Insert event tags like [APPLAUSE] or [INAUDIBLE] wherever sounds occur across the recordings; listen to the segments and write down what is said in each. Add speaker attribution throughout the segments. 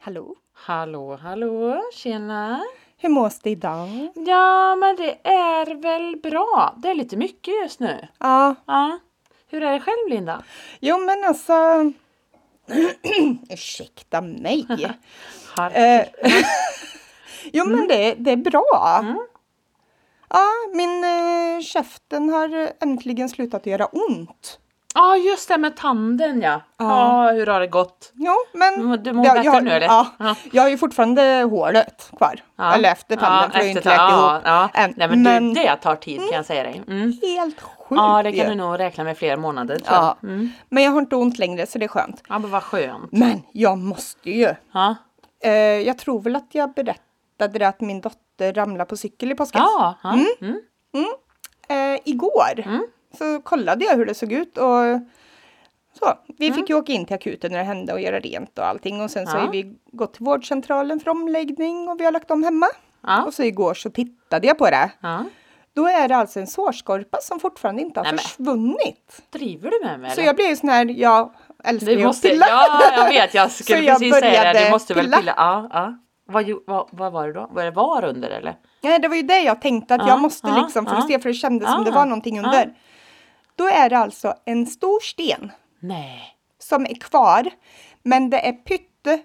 Speaker 1: Hallå?
Speaker 2: Hallå, hallå, tjena!
Speaker 1: Hur mås det idag?
Speaker 2: Ja, men det är väl bra. Det är lite mycket just nu.
Speaker 1: Ja,
Speaker 2: Ja. Hur är det själv, Linda?
Speaker 1: jo men alltså... [CLEARS THROAT] Ursäkta
Speaker 2: [LAUGHS]
Speaker 1: mig! eh, jo men det, det är bra.
Speaker 2: Mm.
Speaker 1: Ja, min eh, käften har äntligen slutat göra ont.
Speaker 2: Ja, just det med tanden ja. Ja,
Speaker 1: Ja.
Speaker 2: hur har det gått?
Speaker 1: Jo, men...
Speaker 2: Mm, Du mår
Speaker 1: Ja,
Speaker 2: bättre
Speaker 1: jag,
Speaker 2: nu eller?
Speaker 1: Ja,
Speaker 2: Ja.
Speaker 1: jag har ju fortfarande hålet kvar.
Speaker 2: Ja.
Speaker 1: Eller efter tanden, för det är ju inte läkt
Speaker 2: ja,
Speaker 1: ihop.
Speaker 2: ja.
Speaker 1: än.
Speaker 2: Nej, men,
Speaker 1: Men-
Speaker 2: Du, det tar tid kan jag säga dig. Mm.
Speaker 1: Helt sjukt
Speaker 2: Ja, det kan
Speaker 1: ju.
Speaker 2: du nog räkna med flera månader tror
Speaker 1: Ja.
Speaker 2: jag. Mm.
Speaker 1: Men jag har inte ont längre så det är skönt.
Speaker 2: Ja, men vad skönt.
Speaker 1: Men jag måste ju.
Speaker 2: Ja,
Speaker 1: Eh, jag tror väl att jag berättade det att min dotter ramlade på cykel i påskas.
Speaker 2: ja, ja. Mm.
Speaker 1: Eh, igår
Speaker 2: Mm.
Speaker 1: så kollade jag hur det såg ut och så. Vi fick ju åka in till akuten när det hände och göra rent och allting och sen så
Speaker 2: Mm. Ja.
Speaker 1: har vi gått till vårdcentralen för omläggning och vi har lagt om hemma.
Speaker 2: ja.
Speaker 1: Och så igår så tittade jag på det.
Speaker 2: ja.
Speaker 1: Då är det alltså en sårskorpa som fortfarande inte har
Speaker 2: Nej, men.
Speaker 1: försvunnit.
Speaker 2: Driver du med mig
Speaker 1: Så
Speaker 2: eller?
Speaker 1: jag blir ju sån här, jag älskar
Speaker 2: Du
Speaker 1: ju att
Speaker 2: måste,
Speaker 1: pilla.
Speaker 2: ja, jag vet, jag
Speaker 1: [LAUGHS]
Speaker 2: skulle
Speaker 1: Så jag
Speaker 2: precis säga det.
Speaker 1: började
Speaker 2: Du måste väl
Speaker 1: pilla.
Speaker 2: pilla. Ja, ja. Vad, gjo- vad, vad var det då? Var det var under eller?
Speaker 1: Nej, det var ju det jag tänkte att
Speaker 2: Ja,
Speaker 1: jag måste
Speaker 2: ja,
Speaker 1: liksom, för
Speaker 2: ja.
Speaker 1: att se, för det kändes som det
Speaker 2: Ja,
Speaker 1: var någonting
Speaker 2: ja.
Speaker 1: under. Då är det alltså en stor sten
Speaker 2: Nej.
Speaker 1: som är kvar, men det är pytte,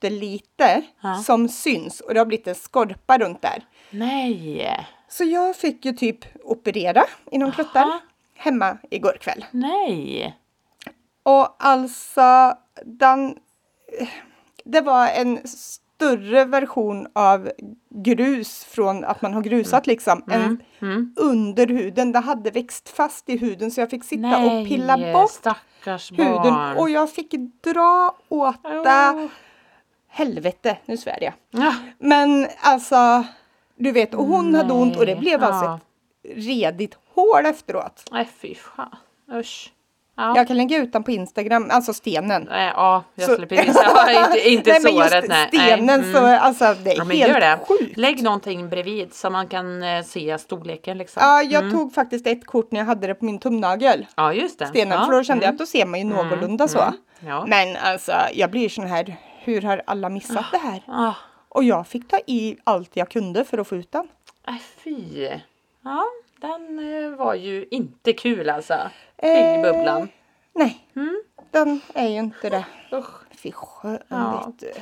Speaker 1: pyttelite
Speaker 2: Ja.
Speaker 1: som syns och det har blivit en skorpa runt där.
Speaker 2: Nej.
Speaker 1: Så jag fick ju typ operera inom kluttar
Speaker 2: Aha.
Speaker 1: hemma igår kväll.
Speaker 2: Nej.
Speaker 1: Och alltså, den, det var en större version av grus från att man har grusat liksom. En,
Speaker 2: Mm.
Speaker 1: under huden. Det hade växt fast i huden så jag fick sitta
Speaker 2: Nej,
Speaker 1: och pilla bort
Speaker 2: stackars
Speaker 1: huden
Speaker 2: barn.
Speaker 1: och jag fick dra åt det.
Speaker 2: Åh.
Speaker 1: Helvete, nu svär jag.
Speaker 2: Ja.
Speaker 1: Men alltså, du vet, och hon hade ont och det
Speaker 2: Nej,
Speaker 1: blev alltså
Speaker 2: ja.
Speaker 1: ett redigt hål efteråt.
Speaker 2: Nej, fy fan. Usch. Ja.
Speaker 1: Jag kan lägga ut den på Instagram, alltså stenen.
Speaker 2: Nej, ja, jag
Speaker 1: Så-
Speaker 2: skulle [LAUGHS] precis säga. Inte, inte
Speaker 1: nej, men
Speaker 2: såret.
Speaker 1: just
Speaker 2: nej.
Speaker 1: stenen
Speaker 2: nej. Mm.
Speaker 1: så, alltså det är
Speaker 2: ja, men
Speaker 1: helt
Speaker 2: gör det.
Speaker 1: sjukt.
Speaker 2: Lägg någonting bredvid så man kan eh, se storleken liksom. Ja,
Speaker 1: Ja, jag tog faktiskt ett kort när jag hade det på min tumnagel,
Speaker 2: just det.
Speaker 1: stenen,
Speaker 2: ja.
Speaker 1: för då kände jag att då ser man ju någorlunda så.
Speaker 2: mm. Ja.
Speaker 1: Men alltså, jag blir sån här, hur har alla missat det här?
Speaker 2: Ah.
Speaker 1: Och jag fick ta i allt jag kunde för att få ut den.
Speaker 2: Äh, fy. Ja, den eh, var ju inte kul alltså.
Speaker 1: Eh.
Speaker 2: I bubblan.
Speaker 1: Nej,
Speaker 2: Mm.
Speaker 1: den är ju inte det.
Speaker 2: Usch.
Speaker 1: Fy skön,
Speaker 2: Ja.
Speaker 1: vet du.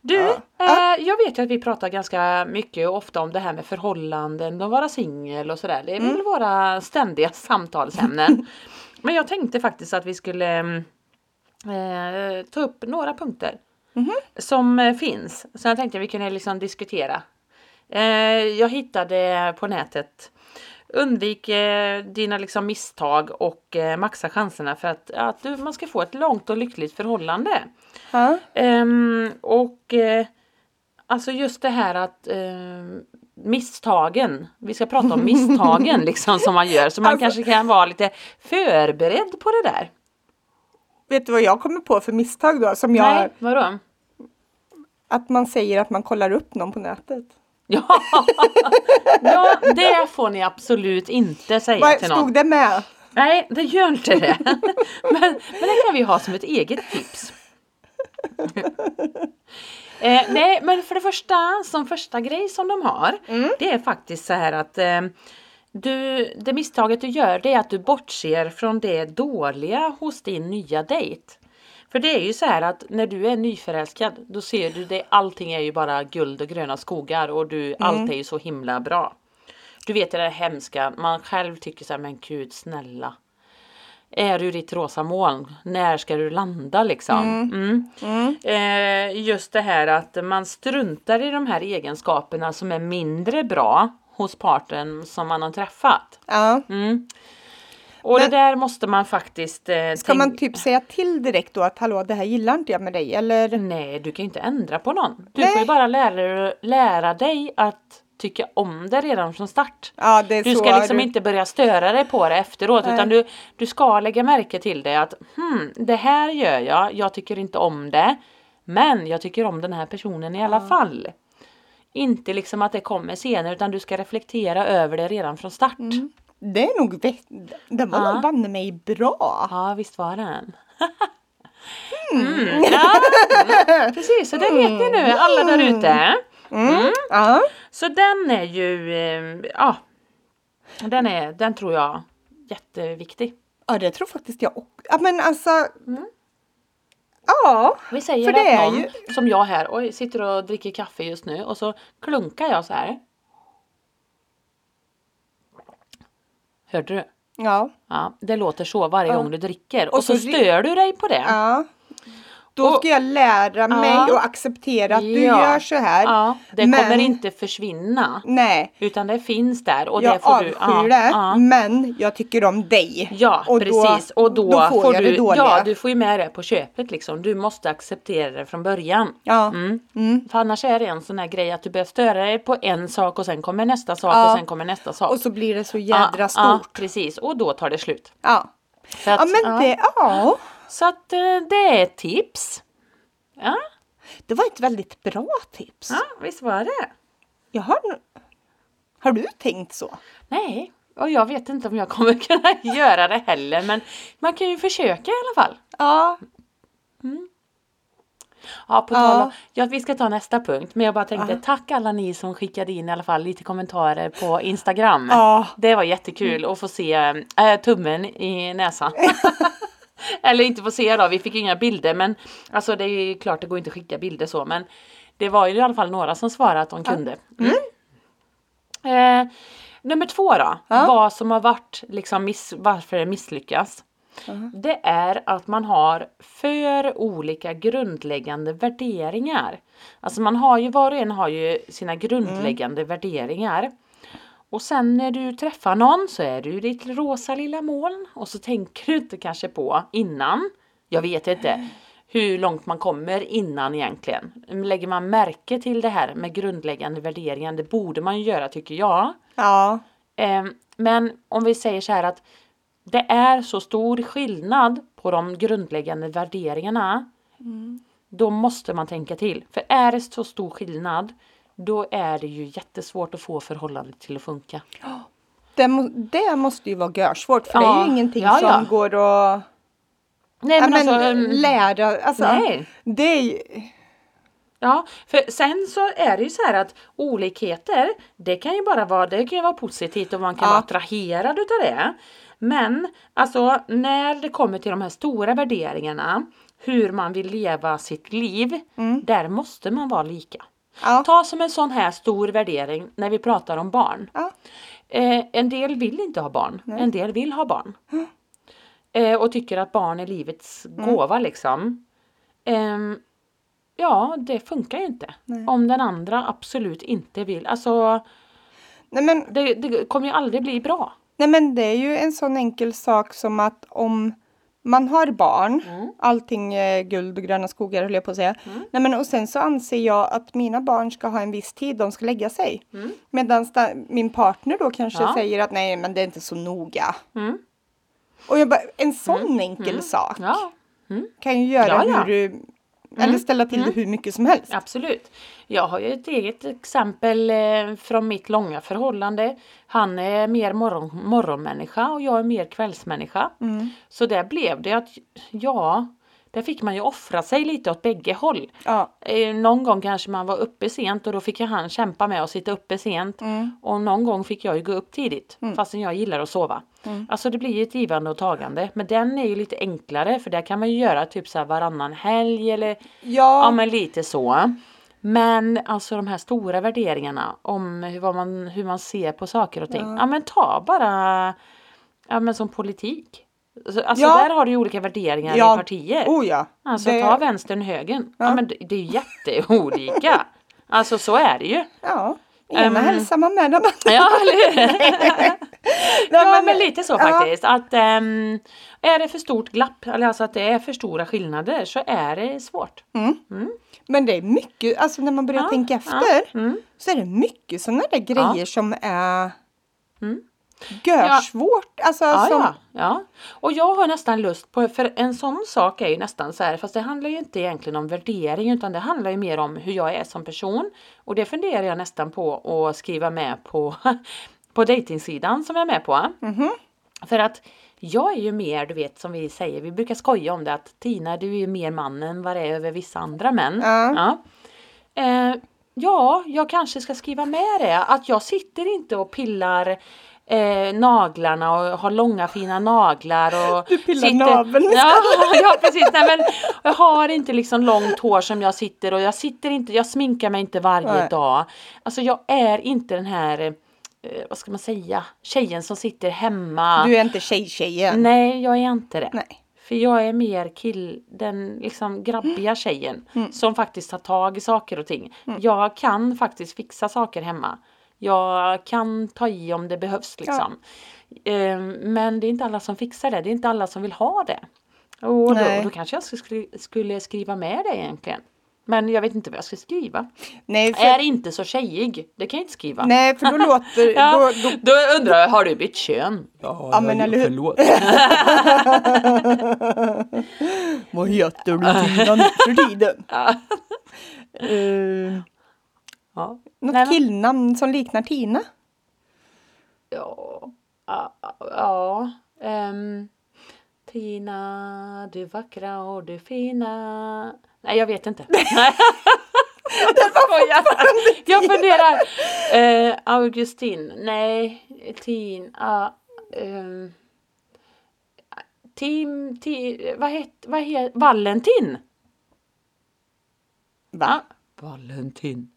Speaker 2: Du,
Speaker 1: Ja.
Speaker 2: eh, jag vet ju att vi pratar ganska mycket och ofta om det här med förhållanden och vara singel och sådär. Det är
Speaker 1: Mm.
Speaker 2: väl våra ständiga
Speaker 1: [LAUGHS]
Speaker 2: [LAUGHS] samtalsämnen. Men jag tänkte faktiskt att vi skulle mm, eh, ta upp några punkter
Speaker 1: Mm-hmm.
Speaker 2: som eh, finns. Så jag tänkte vi kunde liksom diskutera. Eh, jag hittade på nätet Undvik eh, dina liksom misstag och eh, maxa chanserna för att, att du, man ska få ett långt och lyckligt förhållande.
Speaker 1: Ja.
Speaker 2: Ehm, och eh, alltså just det här att ehm, misstagen, vi ska prata
Speaker 1: [LAUGHS]
Speaker 2: om misstagen liksom som man gör så man
Speaker 1: Alltså-
Speaker 2: kanske kan vara lite förberedd på det där.
Speaker 1: Vet du vad jag kommer på för misstag då? Som jag,
Speaker 2: Nej, vadå? [LAUGHS]
Speaker 1: Att man säger att man kollar upp någon på nätet.
Speaker 2: Ja. ja, det får ni absolut inte säga
Speaker 1: Vad
Speaker 2: till någon.
Speaker 1: stod det med?
Speaker 2: Nej, det gör inte det. [LAUGHS] men, men det kan vi ha som ett eget tips. eh, nej, men för det första, som första grej som de har, det är faktiskt så här att eh, du, det misstaget du gör det är att du bortser från det dåliga hos din nya dejt. För det är ju så här att när du är nyförälskad då ser du det, allting är ju bara guld och gröna skogar och du, allt är ju så himla bra. Du vet det där hemska, man själv tycker så här, men gud snälla. Är du i ditt rosa moln? När ska du landa liksom? Mm.
Speaker 1: Mm.
Speaker 2: Eh, just det här att man struntar i de här egenskaperna som är mindre bra hos parten som man har träffat.
Speaker 1: Ja.
Speaker 2: Mm. Och
Speaker 1: Men-
Speaker 2: det där måste man faktiskt... Eh,
Speaker 1: Ska man
Speaker 2: tänk-
Speaker 1: typ säga till direkt då att hallå det här gillar inte jag med dig eller?
Speaker 2: Nej, du kan ju inte ändra på någon. Du
Speaker 1: Nej.
Speaker 2: får ju bara lära, lära dig att tycka om det redan från start.
Speaker 1: Ja det är
Speaker 2: Du
Speaker 1: så.
Speaker 2: ska liksom inte börja störa dig på det efteråt
Speaker 1: Nej.
Speaker 2: utan du, du ska lägga märke till det att hmm, det här gör jag, jag tycker inte om det men jag tycker om den här personen i alla fall. Inte liksom att det kommer senare utan du ska reflektera över det redan från start.
Speaker 1: Mm. Det är nog vett- Den var
Speaker 2: Ja.
Speaker 1: nog banne mig bra. Hmm.
Speaker 2: Ja, visst var den. mm. Ja, mm. Precis, så det vet ni nu alla där ute.
Speaker 1: Mm. Ja.
Speaker 2: Så den är ju, eh, ja, den, är, den tror jag jätteviktig.
Speaker 1: ja, det tror faktiskt jag också. Ja, men alltså.
Speaker 2: Mm.
Speaker 1: Ja.
Speaker 2: Vi säger
Speaker 1: För det
Speaker 2: att
Speaker 1: är
Speaker 2: någon
Speaker 1: ju-
Speaker 2: som jag här, oj, sitter och dricker kaffe just nu och så klunkar jag så här. Hörde du?
Speaker 1: Ja.
Speaker 2: Ja, det låter så varje
Speaker 1: Ja.
Speaker 2: gång du dricker och,
Speaker 1: Och
Speaker 2: så,
Speaker 1: så ri-
Speaker 2: stör du dig på det.
Speaker 1: ja. Då
Speaker 2: Och-
Speaker 1: ska jag lära mig
Speaker 2: Ja.
Speaker 1: och acceptera att du
Speaker 2: Ja.
Speaker 1: gör så här.
Speaker 2: Ja, det
Speaker 1: Men-
Speaker 2: kommer inte försvinna
Speaker 1: Nej,
Speaker 2: utan det finns där och det
Speaker 1: jag
Speaker 2: får du.
Speaker 1: avskyr det,
Speaker 2: ja.
Speaker 1: men jag tycker om dig.
Speaker 2: Ja,
Speaker 1: Och då-
Speaker 2: precis. och då,
Speaker 1: då får
Speaker 2: får,
Speaker 1: jag
Speaker 2: du,
Speaker 1: det dåliga.
Speaker 2: ja, du får ju med det på köpet liksom. Du måste acceptera det från början.
Speaker 1: Ja.
Speaker 2: Mm.
Speaker 1: Mm.
Speaker 2: För annars är det en sån här grej att du behöver störa dig på en sak och sen kommer nästa sak
Speaker 1: Ja.
Speaker 2: och sen kommer nästa sak.
Speaker 1: Och så blir det så jädra
Speaker 2: Ja, ja,
Speaker 1: stort.
Speaker 2: precis, och då tar det slut.
Speaker 1: Ja.
Speaker 2: Så att,
Speaker 1: ja, men
Speaker 2: ja.
Speaker 1: det, ja.
Speaker 2: Så att eh, det är ett tips. Ja,
Speaker 1: Det var ett väldigt bra tips.
Speaker 2: ja, visst var det.
Speaker 1: Jag har, nog- har du tänkt så?
Speaker 2: Nej, och jag vet inte om jag kommer [LAUGHS] kunna göra det heller men man kan ju försöka i alla fall.
Speaker 1: Ja.
Speaker 2: Ja, på
Speaker 1: Ja.
Speaker 2: tal om, ja, vi ska ta nästa punkt, men jag bara tänkte
Speaker 1: Ja.
Speaker 2: tack alla ni som skickade in i alla fall lite kommentarer på Instagram.
Speaker 1: Ja.
Speaker 2: Det var jättekul att få se eh, tummen i näsan. Eller inte få se då, vi fick inga bilder men alltså det är ju klart det går inte att skicka bilder så men det var ju i alla fall några som svarade att de kunde. Mm. Eh, nummer två då, vad som har varit liksom miss, varför det misslyckas. Det är att man har för olika grundläggande värderingar. Alltså man har ju, var och en har ju sina grundläggande värderingar. Och sen när du träffar någon så är du i ditt rosa lilla moln och så tänker du inte kanske på innan. Jag vet inte hur långt man kommer innan egentligen. Lägger man märke till det här med grundläggande värderingar, det borde man ju göra tycker jag.
Speaker 1: Ja.
Speaker 2: Eh, Men om vi säger så här att det är så stor skillnad på de grundläggande värderingarna.
Speaker 1: Mm.
Speaker 2: Då måste man tänka till. För är det så stor skillnad, då är det ju jättesvårt att få förhållandet till att funka.
Speaker 1: Det, må, det måste ju vara görsvårt för det är
Speaker 2: Ja.
Speaker 1: ju ingenting
Speaker 2: Ja, ja.
Speaker 1: som går att
Speaker 2: Nej,
Speaker 1: ja,
Speaker 2: men
Speaker 1: men,
Speaker 2: alltså, mm,
Speaker 1: lära. Alltså,
Speaker 2: nej.
Speaker 1: Det är ju,
Speaker 2: Ja, för sen så är det ju så här att olikheter, det kan ju bara vara, det kan ju vara positivt och man kan
Speaker 1: Ja.
Speaker 2: vara attraherad utav det. Men alltså när det kommer till de här stora värderingarna, hur man vill leva sitt liv, där måste man vara lika.
Speaker 1: Mm. ja.
Speaker 2: Ta som en sån här stor värdering när vi pratar om barn.
Speaker 1: Ja.
Speaker 2: Eh, en del vill inte ha barn, en del vill ha barn. Eh, och tycker att barn är livets gåva liksom. Ehm, ja, det funkar ju inte.
Speaker 1: Nej.
Speaker 2: Om den andra absolut inte vill. Alltså,
Speaker 1: Nej, men,
Speaker 2: det, det kommer ju aldrig bli bra.
Speaker 1: nej men det är ju en sån enkel sak som att om man har barn,
Speaker 2: Mm.
Speaker 1: allting är guld och gröna skogar höll jag på att säga. Nej, men, och sen så anser jag att mina barn ska ha en viss tid de ska lägga sig. Mm. Medan min partner då kanske
Speaker 2: Ja.
Speaker 1: säger att nej men det är inte så noga.
Speaker 2: Mm.
Speaker 1: Och jag bara, en sån enkel sak
Speaker 2: Ja,
Speaker 1: kan ju göra
Speaker 2: Ja, ja. Mm.
Speaker 1: hur du, eller ställa till det hur mycket som helst.
Speaker 2: absolut. Jag har ju ett eget exempel eh, från mitt långa förhållande. Han är mer morgon, morgonmänniska och jag är mer kvällsmänniska.
Speaker 1: Mm.
Speaker 2: Så där blev det att, ja, där fick man ju offra sig lite åt bägge håll.
Speaker 1: Ja.
Speaker 2: Eh, Någon gång kanske man var uppe sent och då fick ju han kämpa med att sitta uppe sent. Och någon gång fick jag ju gå upp tidigt fastän jag gillar att sova. Alltså det blir ju ett givande och tagande. Men den är ju lite enklare för där kan man ju göra typ så här varannan helg eller
Speaker 1: Ja,
Speaker 2: ja men lite så. Men alltså de här stora värderingarna om hur, vad man, hur man ser på saker och ting. Ja, men ta bara ja, men som politik. Alltså alltså,
Speaker 1: Ja.
Speaker 2: där har du ju olika värderingar i partier.
Speaker 1: Oh ja.
Speaker 2: Alltså
Speaker 1: Det-
Speaker 2: ta vänstern och högern. Ja. men det, det är ju jätteolika. [LAUGHS] alltså så är
Speaker 1: [LAUGHS]
Speaker 2: det ju.
Speaker 1: Ja, ena
Speaker 2: Ehm.
Speaker 1: hälsar man med den andra.
Speaker 2: Ja, eller hur?
Speaker 1: [LAUGHS] Nej,
Speaker 2: [LAUGHS] ja men lite så
Speaker 1: ja.
Speaker 2: faktiskt. Att, ehm, är det för stort glapp, eller alltså att det är för stora skillnader så är det svårt.
Speaker 1: Mm. Men det är mycket, alltså när man börjar
Speaker 2: Mm. Ja,
Speaker 1: tänka
Speaker 2: ja,
Speaker 1: efter
Speaker 2: mm.
Speaker 1: så är det mycket sådana där grejer som är görsvårt. Alltså
Speaker 2: Mm. Ah, Ja,
Speaker 1: som,
Speaker 2: ja, ja. Och jag har nästan lust på, för en sån sak är ju nästan så här, fast det handlar ju inte egentligen om värdering utan det handlar ju mer om hur jag är som person. Och det funderar jag nästan på [LAUGHS] att skriva med på, på dejtingsidan som jag är med på. För att Jag är ju mer, du vet som vi säger, vi brukar skoja om det att Tina du är ju mer man än vad det är över vissa andra män.
Speaker 1: Ja.
Speaker 2: Ja. Eh, ja, jag kanske ska skriva med det. Att jag sitter inte och pillar eh, naglarna och har långa fina naglar. Och
Speaker 1: Du pillar naveln
Speaker 2: ja, [LAUGHS] ja, precis. Nej, men jag har inte liksom långt hår som jag sitter och jag sitter inte, jag sminkar mig inte varje
Speaker 1: Nej.
Speaker 2: dag. Alltså jag är inte den här, eh, vad ska man säga, tjejen som sitter hemma.
Speaker 1: Du är inte tjejtjejen.
Speaker 2: Nej, jag är inte det.
Speaker 1: Nej.
Speaker 2: För jag är mer kill, den liksom grabbiga
Speaker 1: Mm.
Speaker 2: tjejen som faktiskt tar tag i saker och ting. Jag kan faktiskt fixa saker hemma. Jag kan ta i om det behövs liksom. Ehm, Men det är inte alla som fixar det. Det är inte alla som vill ha det. Och då,
Speaker 1: Nej.
Speaker 2: och då kanske jag skulle, skulle skriva med det egentligen. Men jag vet inte vad jag ska skriva.
Speaker 1: Nej, för,
Speaker 2: Är inte så tjejig. Det kan jag inte skriva.
Speaker 1: nej, för då låter...
Speaker 2: [LAUGHS] Ja,
Speaker 1: då, då,
Speaker 2: då undrar jag, har du bytt kön?
Speaker 3: Ja,
Speaker 1: Ja, men
Speaker 3: jag-
Speaker 1: eller hur? [LAUGHS]
Speaker 3: Förlåt.
Speaker 1: Vad heter du Tina nu för
Speaker 2: [LAUGHS]
Speaker 1: tiden? Eh,
Speaker 2: Ja.
Speaker 1: något
Speaker 2: Nej, men-
Speaker 1: killnamn som liknar Tina?
Speaker 2: Ja, ja, ja. ehm, Tina, du vackra och du fina. Nej, jag vet inte.
Speaker 1: [LAUGHS]
Speaker 2: Nej. Jag skojar. Jag funderar. Eh, Augustin, nej, Tina. ah, Um, Tim, ti, vad heter, vad heter, Valentin?
Speaker 1: Va?
Speaker 2: Valentin.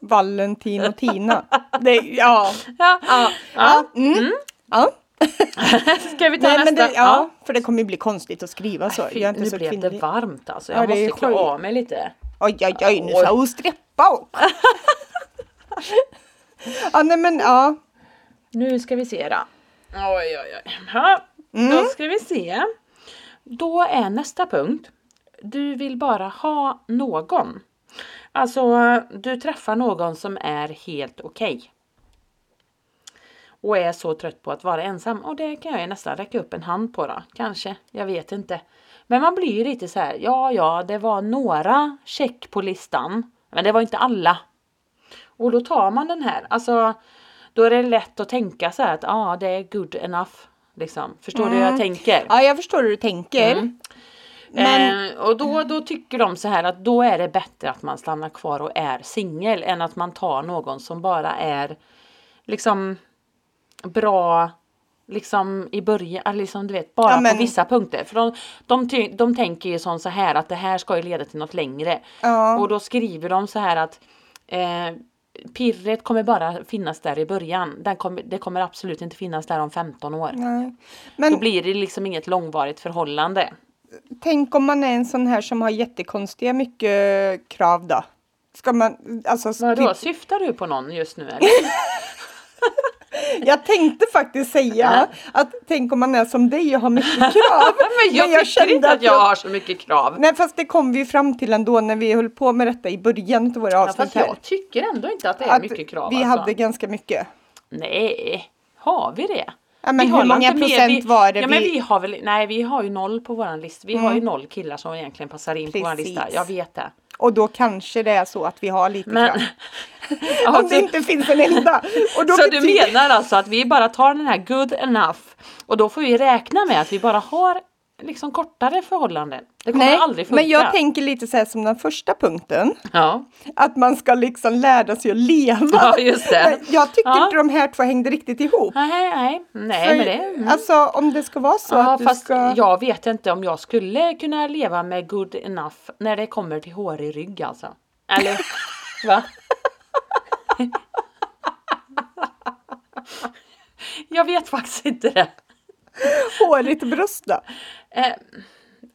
Speaker 1: Valentin och
Speaker 2: [LAUGHS]
Speaker 1: Tina. Det, ja.
Speaker 2: Ja, ja.
Speaker 1: Ja. Mm. ja.
Speaker 2: [LAUGHS] Ska vi ta
Speaker 1: Nej,
Speaker 2: nästa?
Speaker 1: men det,
Speaker 2: Ja.
Speaker 1: ja. För det kommer ju bli konstigt att skriva så.
Speaker 2: Fy,
Speaker 1: Jag är inte
Speaker 2: nu
Speaker 1: så
Speaker 2: blev det
Speaker 1: kvinnlig.
Speaker 2: varmt alltså.
Speaker 1: Ja,
Speaker 2: Jag
Speaker 1: det är
Speaker 2: måste klä
Speaker 1: sjukt.
Speaker 2: av mig lite.
Speaker 1: Oj, oj, oj, nu sa hon streppa också. [LAUGHS] Ja, nej men ja.
Speaker 2: Nu ska vi se då. Oj, oj, oj. Ja,
Speaker 1: Mm.
Speaker 2: Då ska vi se. Då är nästa punkt. Du vill bara ha någon. Alltså, du träffar någon som är helt okej. Och är så trött på att vara ensam. Och det kan jag ju nästan räcka upp en hand på då. Kanske, jag vet inte. Men man blir ju lite så här. Ja, ja, det var några check på listan. Men det var inte alla. Och då tar man den här. Alltså, då är det lätt att tänka så här att ja, ah, det är good enough. Liksom. Förstår du hur jag tänker?
Speaker 1: Ja, jag förstår hur du tänker. Men
Speaker 2: Mm. eh, och då, då tycker de så här att då är det bättre att man stannar kvar och är singel än att man tar någon som bara är liksom bra liksom i början, eller liksom du vet bara
Speaker 1: Ja, men-
Speaker 2: på vissa punkter. För de, de, ty- de tänker ju som så här att det här ska ju leda till något längre.
Speaker 1: Ja.
Speaker 2: Och då skriver de så här att eh, pirret kommer bara finnas där i början. Den kommer, det kommer absolut inte finnas där om 15 år.
Speaker 1: Nej.
Speaker 2: Då
Speaker 1: Men
Speaker 2: blir det liksom inget långvarigt förhållande.
Speaker 1: tänk om man är en sån här som har jättekonstiga mycket krav då? Ska man, alltså,
Speaker 2: Vadå,
Speaker 1: typ,
Speaker 2: syftar du på någon just nu eller?
Speaker 1: [LAUGHS] jag tänkte faktiskt säga att tänk om man är som dig och har
Speaker 2: [LAUGHS]
Speaker 1: mycket krav.
Speaker 2: Men [LAUGHS] jag,
Speaker 1: Men jag
Speaker 2: tycker
Speaker 1: kände
Speaker 2: inte att
Speaker 1: att
Speaker 2: jag
Speaker 1: jag-
Speaker 2: har så mycket krav.
Speaker 1: Nej fast det kom vi ju fram till ändå när vi höll på med detta i början av våra
Speaker 2: Ja,
Speaker 1: avsnitt
Speaker 2: fast
Speaker 1: här.
Speaker 2: jag tycker ändå inte att det är
Speaker 1: Att
Speaker 2: mycket krav
Speaker 1: vi
Speaker 2: alltså.
Speaker 1: hade ganska mycket.
Speaker 2: Nej, har vi det?
Speaker 1: Ja, men
Speaker 2: vi
Speaker 1: hur
Speaker 2: har
Speaker 1: många
Speaker 2: inte mer-
Speaker 1: procent
Speaker 2: vi,
Speaker 1: var det
Speaker 2: Ja, men
Speaker 1: vi- Mm.
Speaker 2: vi har väl, nej, vi har ju noll på våran lista. Vi har ju noll killar som egentligen passar in på våran
Speaker 1: Precis.
Speaker 2: lista. Jag vet det.
Speaker 1: Och då kanske det är så att vi har lite [LAUGHS]
Speaker 2: Men...
Speaker 1: krav.
Speaker 2: [LAUGHS] Ja,
Speaker 1: Om det
Speaker 2: så-
Speaker 1: inte finns en enda. Och då
Speaker 2: Så du
Speaker 1: betyder-
Speaker 2: menar alltså att vi bara tar den här good enough och då får vi räkna med att vi bara har liksom kortare förhållanden. Det kommer
Speaker 1: Nej,
Speaker 2: aldrig funka.
Speaker 1: men jag tänker lite så här som den första punkten.
Speaker 2: ja. [LAUGHS]
Speaker 1: Att man ska liksom lära sig att leva.
Speaker 2: ja, just det.
Speaker 1: Men Jag tyckte
Speaker 2: Ja.
Speaker 1: inte de här två hängde riktigt ihop.
Speaker 2: Nej, nej, nej
Speaker 1: För,
Speaker 2: men det... Mm.
Speaker 1: Alltså om det ska vara så
Speaker 2: ja,
Speaker 1: att du
Speaker 2: fast
Speaker 1: ska...
Speaker 2: jag vet inte om jag skulle kunna leva med good enough när det kommer till hårig rygg alltså.
Speaker 1: [LAUGHS]
Speaker 2: Eller va? jag vet faktiskt inte det.
Speaker 1: Hårigt bröst då.
Speaker 2: Eh,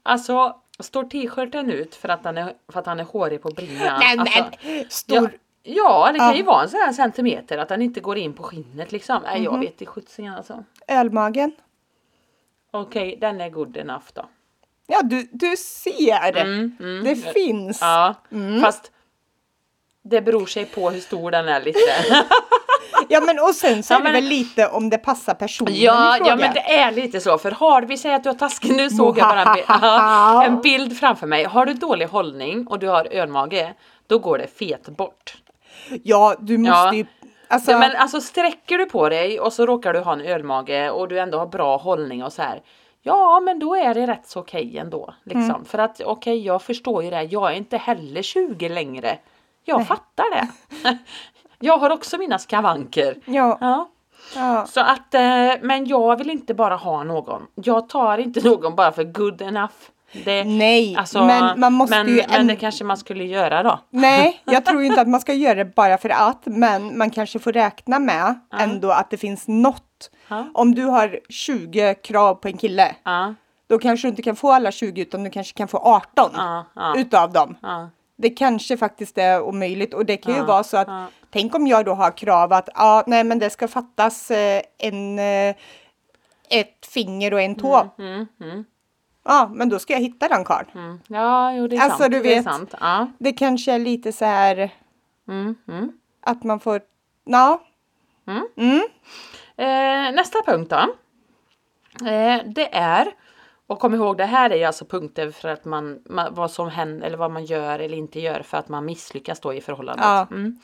Speaker 2: alltså, står t-shirten ut för att han är, för att han är hårig på bringan?
Speaker 1: Nej, men,
Speaker 2: alltså,
Speaker 1: stor...
Speaker 2: Ja, ja, det kan ju
Speaker 1: Ja.
Speaker 2: vara en sån här centimeter att den inte går in på skinnet liksom. Nej,
Speaker 1: Mhm.
Speaker 2: jag vet i sjuttsingen alltså.
Speaker 1: Ölmagen.
Speaker 2: Okej, den är good enough då.
Speaker 1: Ja, du, du ser.
Speaker 2: Mm, mm.
Speaker 1: Det finns.
Speaker 2: Ja, fast det beror sig på hur stor den är lite.
Speaker 1: Ja, men och sen så
Speaker 2: Ja,
Speaker 1: är det
Speaker 2: men-
Speaker 1: väl lite om det passar personen
Speaker 2: [LAUGHS] ja,
Speaker 1: i fråga.
Speaker 2: ja, men det är lite så. För har vi säger att du har taskig, nu såg jag bara en, bi- [LAUGHS] Ja, en bild framför mig. Har du dålig hållning och du har ölmage, då går det fet bort.
Speaker 1: Ja, du måste
Speaker 2: Ja.
Speaker 1: ju... Alltså,
Speaker 2: Ja, men alltså sträcker du på dig och så råkar du ha en ölmage och du ändå har bra hållning och så här. Ja, men då är det rätt så okej ändå. Liksom.
Speaker 1: Mm.
Speaker 2: För att okej, jag förstår ju det. Jag är inte heller 20 längre. Jag fattar det. [LAUGHS] jag har också mina skavanker.
Speaker 1: ja,
Speaker 2: Ja.
Speaker 1: ja,
Speaker 2: Så att, eh, men jag vill inte bara ha någon. Jag tar inte [LAUGHS] någon bara för good enough. Det,
Speaker 1: nej,
Speaker 2: alltså,
Speaker 1: men man måste
Speaker 2: men,
Speaker 1: ju
Speaker 2: men det
Speaker 1: ändå-
Speaker 2: kanske man skulle göra då.
Speaker 1: Nej, jag tror ju inte att man ska göra det bara för att, men man kanske får räkna med ändå att det finns något.
Speaker 2: Ja.
Speaker 1: Om du har 20 krav på en kille,
Speaker 2: Ja,
Speaker 1: då kanske du inte kan få alla 20 utan du kanske kan få 18
Speaker 2: ja, ja,
Speaker 1: utav dem.
Speaker 2: ja.
Speaker 1: Det kanske faktiskt är omöjligt och det kan ju
Speaker 2: Ja,
Speaker 1: vara så att
Speaker 2: ja.
Speaker 1: tänk om jag då har krav att ja, nej, men det ska fattas eh, en eh, ett finger och en tå.
Speaker 2: Mm, mm.
Speaker 1: Ja, men då ska jag hitta den karln.
Speaker 2: Mm. Ja, jo det är
Speaker 1: Alltså,
Speaker 2: sant.
Speaker 1: du
Speaker 2: det är
Speaker 1: vet.
Speaker 2: sant. Ja.
Speaker 1: Det kanske är lite så här
Speaker 2: Mm, mm.
Speaker 1: att man får, ja, Mm,
Speaker 2: Eh, nästa punkt då. Eh, det är, och kom ihåg det här är ju alltså punkter för att man, man vad som händer eller vad man gör eller inte gör för att man misslyckas då i förhållandet.
Speaker 1: Ja.
Speaker 2: Mm.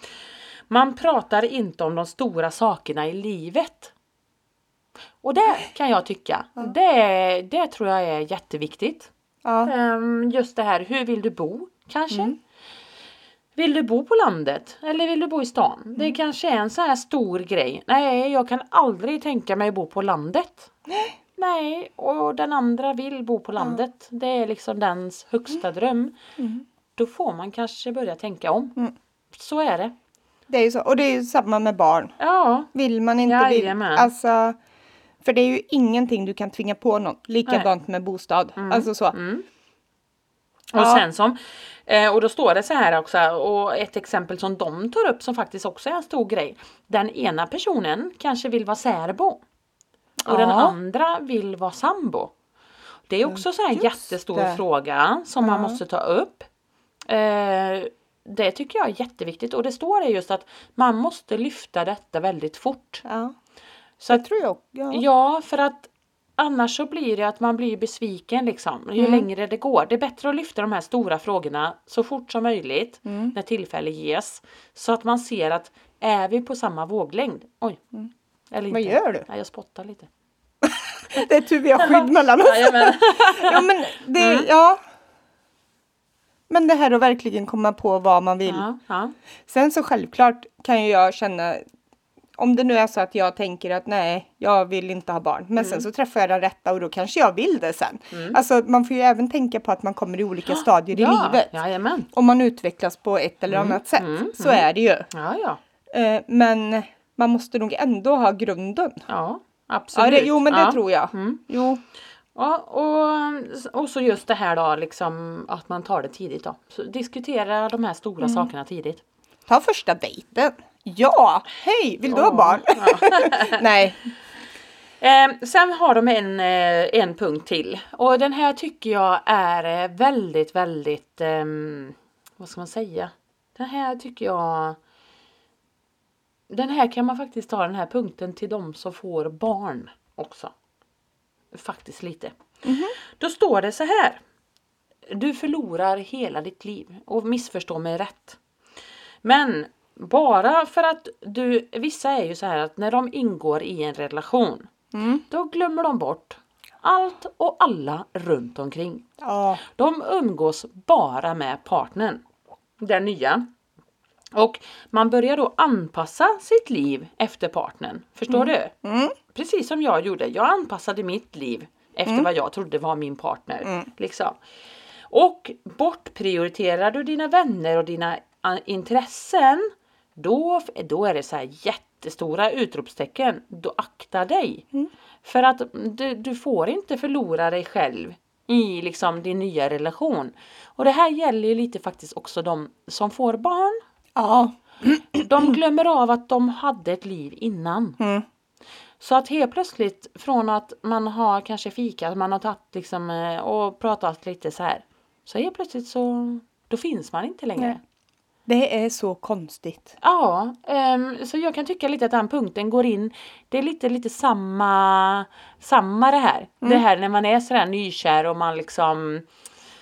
Speaker 2: Man pratar inte om de stora sakerna i livet. Och det kan jag tycka, det, det tror jag är jätteviktigt.
Speaker 1: ja.
Speaker 2: Ehm, just det här, hur vill du bo kanske? Vill du bo på landet eller vill du bo i stan? Det kanske är en sån här stor grej. Nej, jag kan aldrig tänka mig att bo på landet. Nej, och den andra vill bo på landet. Det är liksom dens högsta dröm. Då får man kanske börja tänka om. Så är det.
Speaker 1: Det är ju så. Och det är ju samma med barn.
Speaker 2: Ja,
Speaker 1: Vill man inte... Vill,
Speaker 2: Jajamän.
Speaker 1: alltså, för det är ju ingenting du kan tvinga på någon. Likadant med bostad.
Speaker 2: Mm.
Speaker 1: Alltså så.
Speaker 2: Och
Speaker 1: Ja.
Speaker 2: sen som, eh, och då står det så här också, och ett exempel som de tar upp som faktiskt också är en stor grej. Den ena personen kanske vill vara särbo. Och den
Speaker 1: Ja.
Speaker 2: andra vill vara sambo. Det är också så här en
Speaker 1: just
Speaker 2: jättestor
Speaker 1: det.
Speaker 2: fråga som man
Speaker 1: Ja.
Speaker 2: måste ta upp. Eh, det tycker jag är jätteviktigt och det står det just att man måste lyfta detta väldigt fort.
Speaker 1: Ja.
Speaker 2: Så att
Speaker 1: Tror jag. Ja.
Speaker 2: Ja, för att annars så blir det att man blir besviken liksom.
Speaker 1: Mm.
Speaker 2: Ju längre det går. Det är bättre att lyfta de här stora frågorna så fort som möjligt
Speaker 1: Mm.
Speaker 2: när tillfälle ges. Så att man ser att är vi på samma våglängd? Oj. Eller
Speaker 1: Mm. Vad gör du?
Speaker 2: Nej, jag spottar lite.
Speaker 1: Det är tur vi har skydd mellan oss.
Speaker 2: Jajamän.
Speaker 1: [LAUGHS]
Speaker 2: Mm.
Speaker 1: ja, men det, ja. Men det här att verkligen komma på vad man vill.
Speaker 2: ja, ja.
Speaker 1: Sen så självklart kan ju jag känna, om det nu är så att jag tänker att nej, jag vill inte ha barn, men
Speaker 2: Mm.
Speaker 1: sen så träffar jag den rätta och då kanske jag vill det sen. Alltså man får ju även tänka på att man kommer i olika stadier i
Speaker 2: ja, Mm.
Speaker 1: livet.
Speaker 2: Jajamän.
Speaker 1: Om man utvecklas på ett eller annat sätt, så är det ju.
Speaker 2: Ja, ja.
Speaker 1: Eh, men man måste nog ändå ha grunden.
Speaker 2: Ja,
Speaker 1: Ja,
Speaker 2: absolut.
Speaker 1: det, jo, men det
Speaker 2: ja. Mm.
Speaker 1: tror jag. Jo.
Speaker 2: Ja, och, och så just det här då, liksom att man tar det tidigt då. Så diskutera de här stora
Speaker 1: Mm.
Speaker 2: sakerna tidigt.
Speaker 1: Ta första dejten. Ja, hej, vill du ha
Speaker 2: Ja,
Speaker 1: barn? [LAUGHS] nej.
Speaker 2: Eh, sen har de en, eh, en punkt till och den här tycker jag är eh, väldigt, väldigt, ehm, vad ska man säga? Den här tycker jag, den här kan man faktiskt ta den här punkten till de som får barn också. Faktiskt lite. Då står det så här. Du förlorar hela ditt liv och missförstå mig rätt. Men bara för att du, vissa är ju så här att när de ingår i en relation
Speaker 1: Mm.
Speaker 2: då glömmer de bort allt och alla runt omkring.
Speaker 1: Ja,
Speaker 2: De umgås bara med partnern, den nya. Och man börjar då anpassa sitt liv efter partnern. Förstår du?
Speaker 1: Mm.
Speaker 2: Precis som jag gjorde. Jag anpassade mitt liv efter vad jag trodde var min partner. Liksom. Och bortprioriterar du dina vänner och dina eh, intressen, då, då är det så här jättestora utropstecken. Då akta dig. För att du, du får inte förlora dig själv i liksom din nya relation. Och det här gäller ju lite faktiskt också de som får barn.
Speaker 1: ja,
Speaker 2: De glömmer av att de hade ett liv innan.
Speaker 1: Mm.
Speaker 2: Så att helt plötsligt från att man har kanske fikat, man har tagit liksom eh, och pratat lite så här. Så helt plötsligt så då finns man inte längre.
Speaker 1: Nej. det är så konstigt.
Speaker 2: Ja, ehm, så jag kan tycka lite att den punkten går in. Det är lite, lite samma, samma det här.
Speaker 1: Mm.
Speaker 2: Det här när man är sådär nykär och man liksom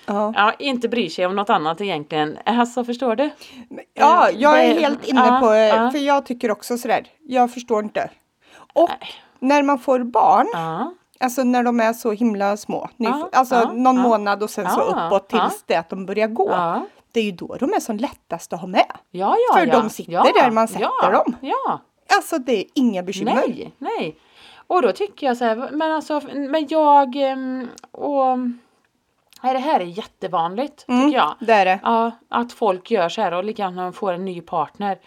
Speaker 1: Ja,
Speaker 2: ja, inte bryr sig om något annat egentligen. Alltså förstår du?
Speaker 1: men- Ja, jag är
Speaker 2: det-
Speaker 1: helt inne
Speaker 2: ja,
Speaker 1: på, eh,
Speaker 2: ja.
Speaker 1: för jag tycker också sådär, jag förstår inte. Och när man får barn,
Speaker 2: Ja.
Speaker 1: alltså när de är så himla små, nyf-
Speaker 2: Ja,
Speaker 1: alltså
Speaker 2: ja,
Speaker 1: någon
Speaker 2: ja.
Speaker 1: månad och sen så
Speaker 2: Ja,
Speaker 1: uppåt tills
Speaker 2: ja.
Speaker 1: det att de börjar gå.
Speaker 2: Ja.
Speaker 1: Det är ju då de är som lättast att ha med.
Speaker 2: Ja, ja,
Speaker 1: För
Speaker 2: ja.
Speaker 1: de sitter
Speaker 2: ja,
Speaker 1: där man
Speaker 2: ja,
Speaker 1: sätter dem.
Speaker 2: Ja,
Speaker 1: Alltså det är inga bekymmer.
Speaker 2: nej, nej. Och då tycker jag så här, men alltså, men jag ehm, och... Nej, det här är jättevanligt, tycker jag.
Speaker 1: Mm, Det är det.
Speaker 2: Ja, att folk gör så här och likadant när man får en ny partner.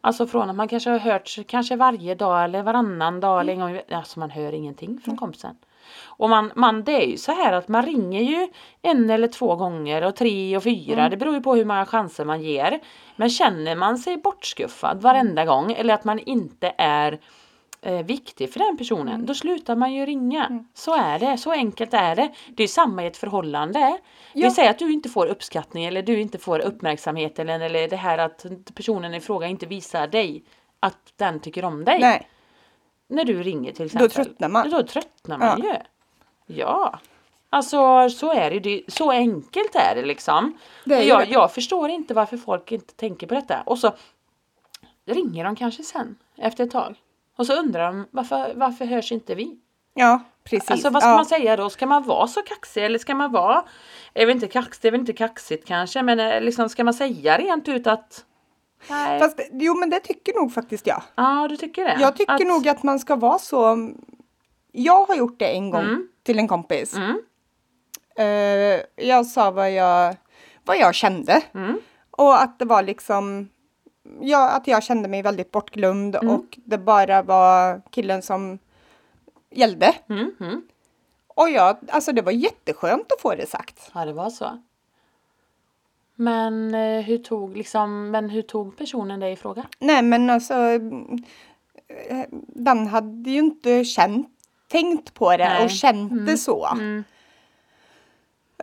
Speaker 2: Alltså från att man kanske har hört kanske varje dag eller varannan dag eller en gång i ve- Alltså man hör ingenting från kompisen. Och man, man, det är ju så här att man ringer ju en eller två gånger och tre och fyra. Det beror ju på hur många chanser man ger. Men känner man sig bortskuffad varenda gång eller att man inte är eh, viktig för den personen, då slutar man ju ringa. Så är det, så enkelt är det. Det är ju samma i ett förhållande.
Speaker 1: Ja.
Speaker 2: Vi säger att du inte får uppskattning eller du inte får uppmärksamhet eller, eller det här att personen i fråga inte visar dig att den tycker om dig.
Speaker 1: Nej.
Speaker 2: När du ringer till exempel.
Speaker 1: tröttnar man.
Speaker 2: Då tröttnar man ju. Ja. Alltså så är det ju. Det- Så enkelt är det liksom.
Speaker 1: Det är ju
Speaker 2: jag,
Speaker 1: det.
Speaker 2: jag förstår inte varför folk inte tänker på detta. Och så ringer de kanske sen efter ett tag. Och så undrar de varför, varför hörs inte vi?
Speaker 1: Ja, precis.
Speaker 2: Alltså vad ska
Speaker 1: ja.
Speaker 2: man säga då? Ska man vara så kaxig eller ska man vara, jag vet inte kaxig, det är väl inte kaxigt kanske, men eh, liksom ska man säga rent ut att Nej.
Speaker 1: Fast, jo men det tycker nog faktiskt jag.
Speaker 2: ja, du tycker det?
Speaker 1: Jag tycker
Speaker 2: att,
Speaker 1: nog att man ska vara så. Jag har gjort det en gång
Speaker 2: Mm.
Speaker 1: till en kompis.
Speaker 2: Mm.
Speaker 1: Eh, jag sa vad jag, vad jag kände.
Speaker 2: Mm.
Speaker 1: Och att det var liksom, ja, att jag kände mig väldigt bortglömd och det bara var killen som gällde.
Speaker 2: Mm, mm.
Speaker 1: Och jag, alltså det var jätteskönt att få det sagt.
Speaker 2: Ja, det var så. Men eh, hur tog liksom, men hur tog personen dig i fråga?
Speaker 1: Nej men alltså, eh, den hade ju inte känt, tänkt på det
Speaker 2: Nej.
Speaker 1: och känt det så.
Speaker 2: Mm.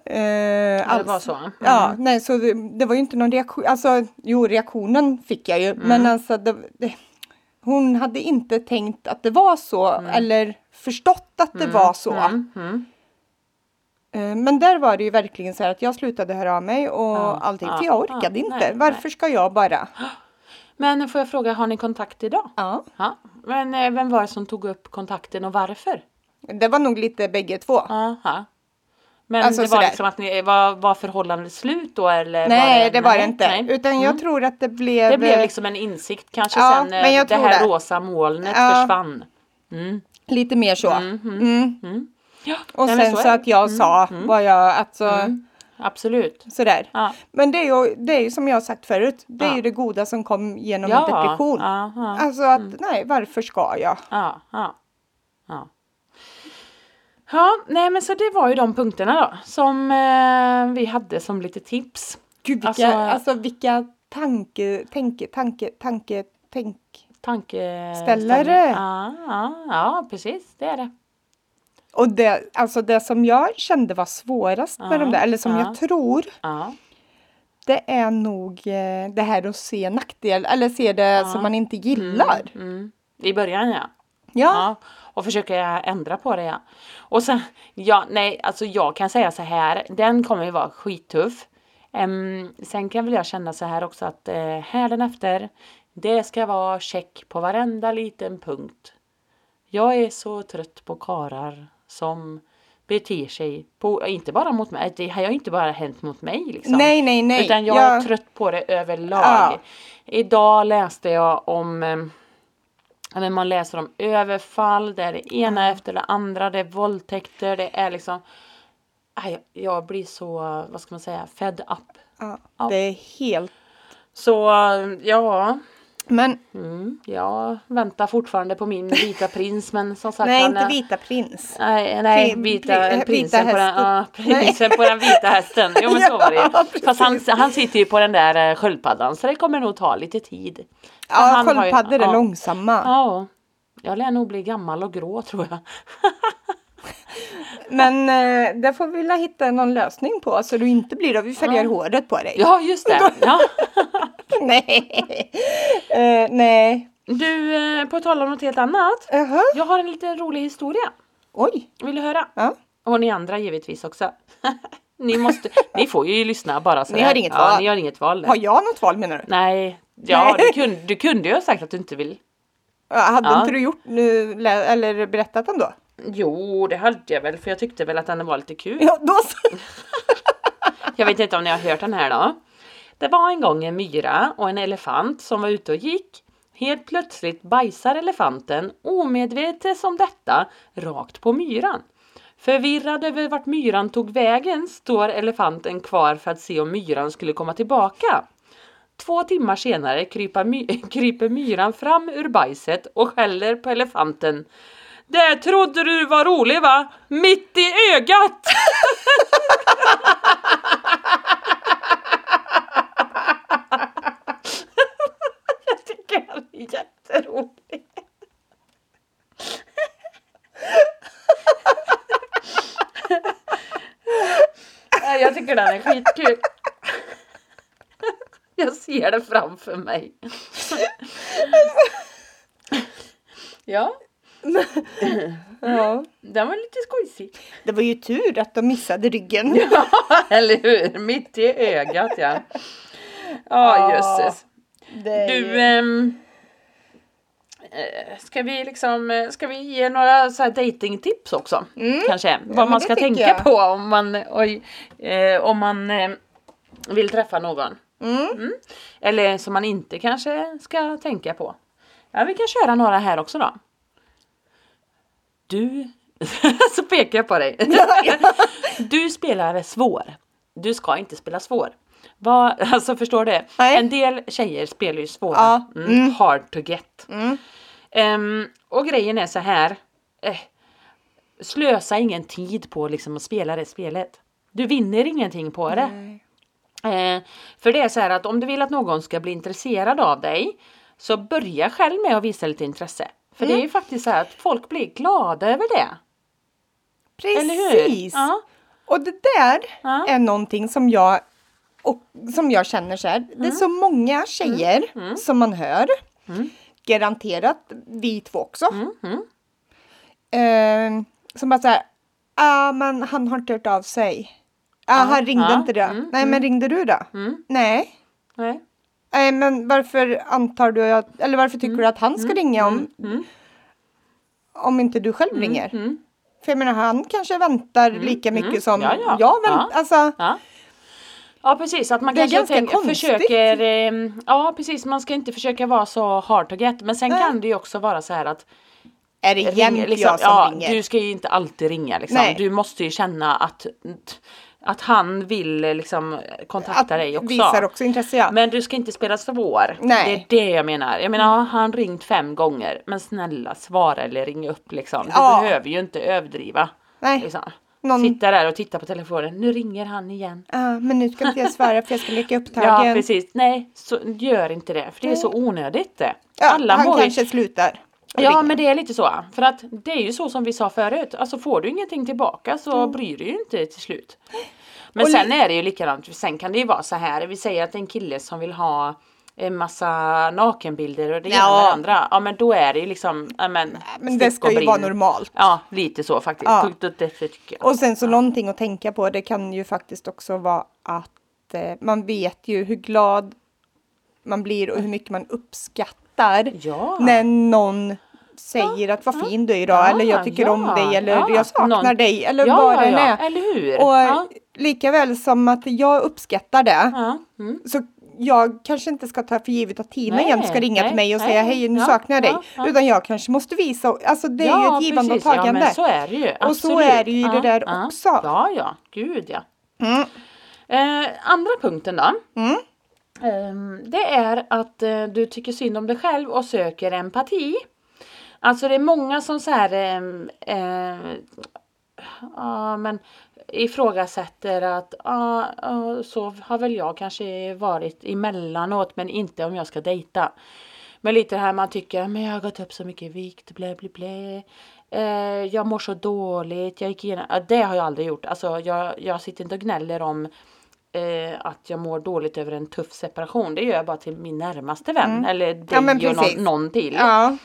Speaker 1: Eh,
Speaker 2: Ja, Det
Speaker 1: alls.
Speaker 2: var så. Mm.
Speaker 1: Ja, nej, så det, det var ju inte någon reaktion. Alltså, jo, reaktionen fick jag ju,
Speaker 2: Mm.
Speaker 1: men alltså det, det, hon hade inte tänkt att det var så eller förstått att det var så.
Speaker 2: Mm, mm.
Speaker 1: Eh, Men där var det ju verkligen så här att jag slutade höra av mig och
Speaker 2: Ja,
Speaker 1: allting,
Speaker 2: ja,
Speaker 1: för jag orkade
Speaker 2: ja,
Speaker 1: inte.
Speaker 2: nej,
Speaker 1: Varför ska jag bara?
Speaker 2: Men får jag fråga, har ni kontakt idag?
Speaker 1: Ja.
Speaker 2: Ja. Men eh, vem var det som tog upp kontakten och varför?
Speaker 1: Det var nog lite bägge två.
Speaker 2: Aha. Men
Speaker 1: Alltså
Speaker 2: det var
Speaker 1: sådär.
Speaker 2: liksom att ni, var, var förhållandet slut då eller?
Speaker 1: nej, det var det
Speaker 2: nej,
Speaker 1: inte.
Speaker 2: nej. Mm.
Speaker 1: Utan jag tror att det blev... eh,
Speaker 2: Det blev liksom en insikt kanske
Speaker 1: Ja,
Speaker 2: sen
Speaker 1: men
Speaker 2: när
Speaker 1: jag
Speaker 2: det
Speaker 1: tror
Speaker 2: här
Speaker 1: det.
Speaker 2: rosa molnet
Speaker 1: Ja.
Speaker 2: försvann. Mm.
Speaker 1: Lite mer så.
Speaker 2: Mm,
Speaker 1: Mm.
Speaker 2: Ja,
Speaker 1: Och
Speaker 2: nej, men
Speaker 1: sen så,
Speaker 2: är det. Mm.
Speaker 1: att jag sa vad jag, alltså
Speaker 2: Absolut.
Speaker 1: sådär.
Speaker 2: Ja.
Speaker 1: Men det är, ju, det är ju som jag har sagt förut, det är
Speaker 2: Ja.
Speaker 1: ju det goda som kom genom
Speaker 2: Ja,
Speaker 1: en depression.
Speaker 2: ja, Mm. ja.
Speaker 1: Alltså att nej, varför ska jag?
Speaker 2: Ja, ja, ja. Ja, nej men så det var ju de punkterna då som eh, vi hade som lite tips.
Speaker 1: Gud, vilka, alltså,
Speaker 2: Alltså-
Speaker 1: vilka tanke, tänke, tanke, tanke, tänk.
Speaker 2: Tankeställare. Ja, ja, ja, precis det är det.
Speaker 1: Och det, alltså det som jag kände var svårast med
Speaker 2: Ja,
Speaker 1: de där, eller som
Speaker 2: ja.
Speaker 1: jag tror,
Speaker 2: Ja.
Speaker 1: det är nog eh, det här att se nackdel, eller se det som man inte gillar.
Speaker 2: Mm. I början ja.
Speaker 1: Ja,
Speaker 2: Ja, och försöka ändra på det ja. Och sen, ja, nej, alltså jag kan säga så här, den kommer ju vara skittuff. Ehm, sen kan väl jag känna så här också att eh, härden efter, det ska vara check på varenda liten punkt. Jag är så trött på karar som beter sig, på, inte bara mot mig, det har ju inte bara hänt mot mig liksom.
Speaker 1: nej, nej, nej.
Speaker 2: Utan jag
Speaker 1: Ja.
Speaker 2: är trött på det överlag.
Speaker 1: Ja.
Speaker 2: Idag läste jag om eh, ja, men man läser om överfall, det är det ena efter det andra, det är våldtäkter, det är liksom... Aj, jag blir så, vad ska man säga, fed up.
Speaker 1: Ja,
Speaker 2: Ja.
Speaker 1: det är helt...
Speaker 2: Så
Speaker 1: eh,
Speaker 2: ja,
Speaker 1: Men
Speaker 2: mm, jag väntar fortfarande på min vita prins men som sagt...
Speaker 1: nej,
Speaker 2: han
Speaker 1: inte
Speaker 2: är-
Speaker 1: vita prins.
Speaker 2: Nej, nej
Speaker 1: Pri-
Speaker 2: vita,
Speaker 1: pri-
Speaker 2: prinsen,
Speaker 1: vita
Speaker 2: på den,
Speaker 1: hästen. [LAUGHS]
Speaker 2: ja, prinsen på den vita hästen. Jo men så var det
Speaker 1: Ja,
Speaker 2: ju. Fast han,
Speaker 1: precis.
Speaker 2: han sitter ju på den där eh, sköldpaddan så det kommer nog ta lite tid. För
Speaker 1: Ja,
Speaker 2: han har ju-
Speaker 1: sköldpaddor är
Speaker 2: ja.
Speaker 1: långsamma.
Speaker 2: Ja, jag lär nog bli gammal och grå tror jag. [LAUGHS]
Speaker 1: Men eh, det får vi väl hitta någon lösning på så du inte blir det. Vi färgar håret på dig.
Speaker 2: Ja, just det. Ja.
Speaker 1: [LAUGHS] nej. Eh, nej.
Speaker 2: Du, eh, på tal om något helt annat.
Speaker 1: Jaha.
Speaker 2: Jag har en liten rolig historia.
Speaker 1: Oj.
Speaker 2: Vill du höra?
Speaker 1: Ja.
Speaker 2: Och ni andra givetvis också. [LAUGHS] Ni, måste, ni får ju lyssna bara så
Speaker 1: Ni
Speaker 2: här.
Speaker 1: har inget
Speaker 2: ja,
Speaker 1: val.
Speaker 2: Ni har inget val.
Speaker 1: Har jag något val menar du?
Speaker 2: Nej, ja,
Speaker 1: Nej.
Speaker 2: Du, kunde, du kunde ju ha sagt att du inte vill.
Speaker 1: Ja, Hade
Speaker 2: Ja.
Speaker 1: inte du gjort nu, lä- eller berättat ändå?
Speaker 2: Jo, det hade jag väl för jag tyckte väl att den var lite kul.
Speaker 1: Ja, då så. [LAUGHS]
Speaker 2: Jag vet inte om ni har hört den här då. Det var en gång en myra och en elefant som var ute och gick. Helt plötsligt bajsar elefanten, omedveten som detta, rakt på myran. Förvirrad över vart myran tog vägen står elefanten kvar för att se om myran skulle komma tillbaka. Två timmar senare kryper, my- [LAUGHS] kryper myran fram ur bajset och skäller på elefanten. Det trodde du var rolig va? Mitt i ögat! [LAUGHS] Jag tycker han är jätterolig. Nej, Jag tycker den är skitkul. [LAUGHS] Jag ser det framför mig. Ja,
Speaker 1: Ja.
Speaker 2: den var lite skojsig.
Speaker 1: Det var ju tur att de missade ryggen.
Speaker 2: Ja, eller hur? Mitt i ögat ja. Ja, jösses.
Speaker 1: Det är ju-
Speaker 2: Du, ehm, eh, ska vi liksom, eh, ska vi ge några så här datingtips också?
Speaker 1: Mm.
Speaker 2: Kanske,
Speaker 1: men
Speaker 2: vad
Speaker 1: det
Speaker 2: man ska
Speaker 1: tycker
Speaker 2: tänka
Speaker 1: jag.
Speaker 2: på om man, oj, eh, om man eh, vill träffa någon.
Speaker 1: Mm.
Speaker 2: Eller som man inte kanske ska tänka på. Ja, vi kan köra några här också då. Du, [LAUGHS] så pekar jag på dig. du spelar svår. Du ska inte spela svår. Vad, alltså förstår du?
Speaker 1: Nej.
Speaker 2: En del tjejer spelar ju svåra.
Speaker 1: Ja,
Speaker 2: Mm, Hard to get.
Speaker 1: Mm.
Speaker 2: Ehm, och grejen är så här. Eh, slösa ingen tid på liksom att spela det spelet. Du vinner ingenting på det.
Speaker 1: Nej.
Speaker 2: Eh, för det är så här att om du vill att någon ska bli intresserad av dig så börja själv med att visa lite intresse. För
Speaker 1: Mm.
Speaker 2: det är ju faktiskt så här att folk blir glada över det. Eller hur?
Speaker 1: Precis.
Speaker 2: Ja.
Speaker 1: Och det där
Speaker 2: Ja.
Speaker 1: är någonting som jag, och, som jag känner så här. Det är
Speaker 2: Mm.
Speaker 1: så många tjejer som man hör. Garanterat vi två också.
Speaker 2: Mm.
Speaker 1: Eh, som bara så här. Ah, men han har inte hört av sig. Ah,
Speaker 2: Ja,
Speaker 1: han ringde
Speaker 2: ja,
Speaker 1: inte då.
Speaker 2: mm,
Speaker 1: Nej, men ringde du då?
Speaker 2: Mm.
Speaker 1: Nej.
Speaker 2: Nej.
Speaker 1: Nej, men varför antar du att, eller varför tycker du att han ska ringa om,
Speaker 2: mm.
Speaker 1: om inte du själv ringer?
Speaker 2: Mm.
Speaker 1: För jag menar, han kanske väntar lika mycket som
Speaker 2: Ja, ja.
Speaker 1: jag väntar.
Speaker 2: Ja.
Speaker 1: Alltså,
Speaker 2: Ja. Ja precis att man
Speaker 1: Det är
Speaker 2: kanske
Speaker 1: ganska
Speaker 2: tänker,
Speaker 1: konstigt.
Speaker 2: försöker, ehm, ja precis man ska inte försöka vara så hard to get men sen
Speaker 1: Nej.
Speaker 2: kan det ju också vara så här att
Speaker 1: är det
Speaker 2: ringer,
Speaker 1: jämt
Speaker 2: liksom,
Speaker 1: jag som
Speaker 2: ja,
Speaker 1: ringer?
Speaker 2: Du ska ju inte alltid ringa liksom.
Speaker 1: Nej.
Speaker 2: Du måste ju känna att, att han vill eh, liksom kontakta dig också.
Speaker 1: Visar också intresse, ja.
Speaker 2: Men du ska inte spela svår.
Speaker 1: Nej. Mm.
Speaker 2: Det är det jag menar. Jag menar, har han ringt fem gånger. Men snälla svara eller ring upp liksom. Du
Speaker 1: Ja.
Speaker 2: behöver ju inte överdriva.
Speaker 1: Nej,
Speaker 2: Liksom.
Speaker 1: någon,
Speaker 2: Sitta där och titta på telefonen. Nu ringer han igen.
Speaker 1: ah, men nu ska inte jag svara för jag ska leka
Speaker 2: [LAUGHS] Ja
Speaker 1: upptagen.
Speaker 2: precis. Nej, så, gör inte det. För det är så onödigt det.
Speaker 1: Ja,
Speaker 2: Alla
Speaker 1: han
Speaker 2: mår ju
Speaker 1: kanske slutar. att
Speaker 2: Ja
Speaker 1: ringa.
Speaker 2: men det är lite så. För att det är ju så som vi sa förut. Alltså får du ingenting tillbaka så bryr du ju inte till slut. Men
Speaker 1: Mm. Och li-
Speaker 2: sen är det ju likadant. Sen kan det ju vara så här. Vi säger att en kille som vill ha en massa nakenbilder och det ena och
Speaker 1: Ja.
Speaker 2: det andra. Ja men då är det ju liksom. Ja, men,
Speaker 1: men det
Speaker 2: stick och
Speaker 1: ska ju
Speaker 2: brinn.
Speaker 1: vara normalt.
Speaker 2: Ja lite så faktiskt.
Speaker 1: Ja.
Speaker 2: Punkt och det tycker jag.
Speaker 1: Och sen så någonting att tänka på, det kan ju faktiskt också vara att eh, man vet ju hur glad man blir och hur mycket man uppskattar
Speaker 2: Ja.
Speaker 1: när någon säger att vad fin du är idag
Speaker 2: Ja,
Speaker 1: eller jag tycker om
Speaker 2: ja,
Speaker 1: dig eller
Speaker 2: ja.
Speaker 1: jag saknar
Speaker 2: Någon-
Speaker 1: dig eller
Speaker 2: ja,
Speaker 1: vad
Speaker 2: ja,
Speaker 1: det än
Speaker 2: ja.
Speaker 1: är.
Speaker 2: Eller hur.
Speaker 1: Och
Speaker 2: ja.
Speaker 1: lika väl som att jag uppskattar det
Speaker 2: Ja. Mm.
Speaker 1: så jag kanske inte ska ta för givet att Tina
Speaker 2: Nej,
Speaker 1: igen ska ringa
Speaker 2: nej,
Speaker 1: till mig och
Speaker 2: nej.
Speaker 1: säga hej nu
Speaker 2: Ja,
Speaker 1: saknar jag dig.
Speaker 2: ja, ja.
Speaker 1: Utan jag kanske måste visa, alltså det är ju
Speaker 2: ja,
Speaker 1: ett givande
Speaker 2: precis.
Speaker 1: och
Speaker 2: Ja
Speaker 1: tagande.
Speaker 2: men så är det ju.
Speaker 1: Och så
Speaker 2: Absolut.
Speaker 1: är det ju i det
Speaker 2: Ja,
Speaker 1: där
Speaker 2: ja.
Speaker 1: också.
Speaker 2: Ja ja, gud ja.
Speaker 1: Mm.
Speaker 2: Eh, andra punkten då.
Speaker 1: Mm.
Speaker 2: Ehm, det är att eh, du tycker synd om dig själv och söker empati. Alltså det är många som så här ehm, eh, ja, men ifrågasätter att ja, ja, så har väl jag kanske varit emellanåt men inte om jag ska dejta. Men lite det här man tycker, men jag har gått upp så mycket i vikt, blä blä blä. Eh, jag mår så dåligt, jag gick igenom, ja, det har jag aldrig gjort. Alltså jag, jag sitter inte och gnäller om eh, att jag mår dåligt över en tuff separation. Det gör jag bara till min närmaste vän eller dig
Speaker 1: Mm. men
Speaker 2: och
Speaker 1: precis.
Speaker 2: någon, någon till.
Speaker 1: Ja.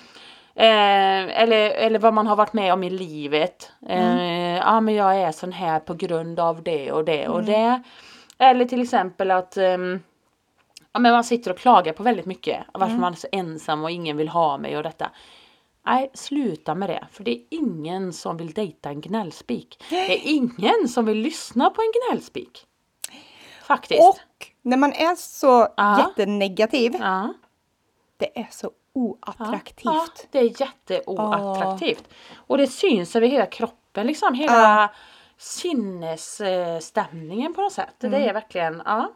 Speaker 2: Eh, eller, eller vad man har varit med om i livet. Eh, ja men jag är sån här på grund av det och det och det. Eller till exempel att ehm, ja, men man sitter och klagar på väldigt mycket. Varför man är så ensam och ingen vill ha mig och detta. Nej, sluta med det. För det är ingen som vill dejta en gnällspik. Det är ingen som vill lyssna på en gnällspik. Faktiskt.
Speaker 1: Och när man är så
Speaker 2: Ja.
Speaker 1: jättenegativ,
Speaker 2: ja.
Speaker 1: det är så
Speaker 2: Ja,
Speaker 1: oattraktivt.
Speaker 2: Ja, det är jätteoattraktivt. Och det syns över hela kroppen, liksom hela sinnesstämningen på något sätt. Det är verkligen, ja.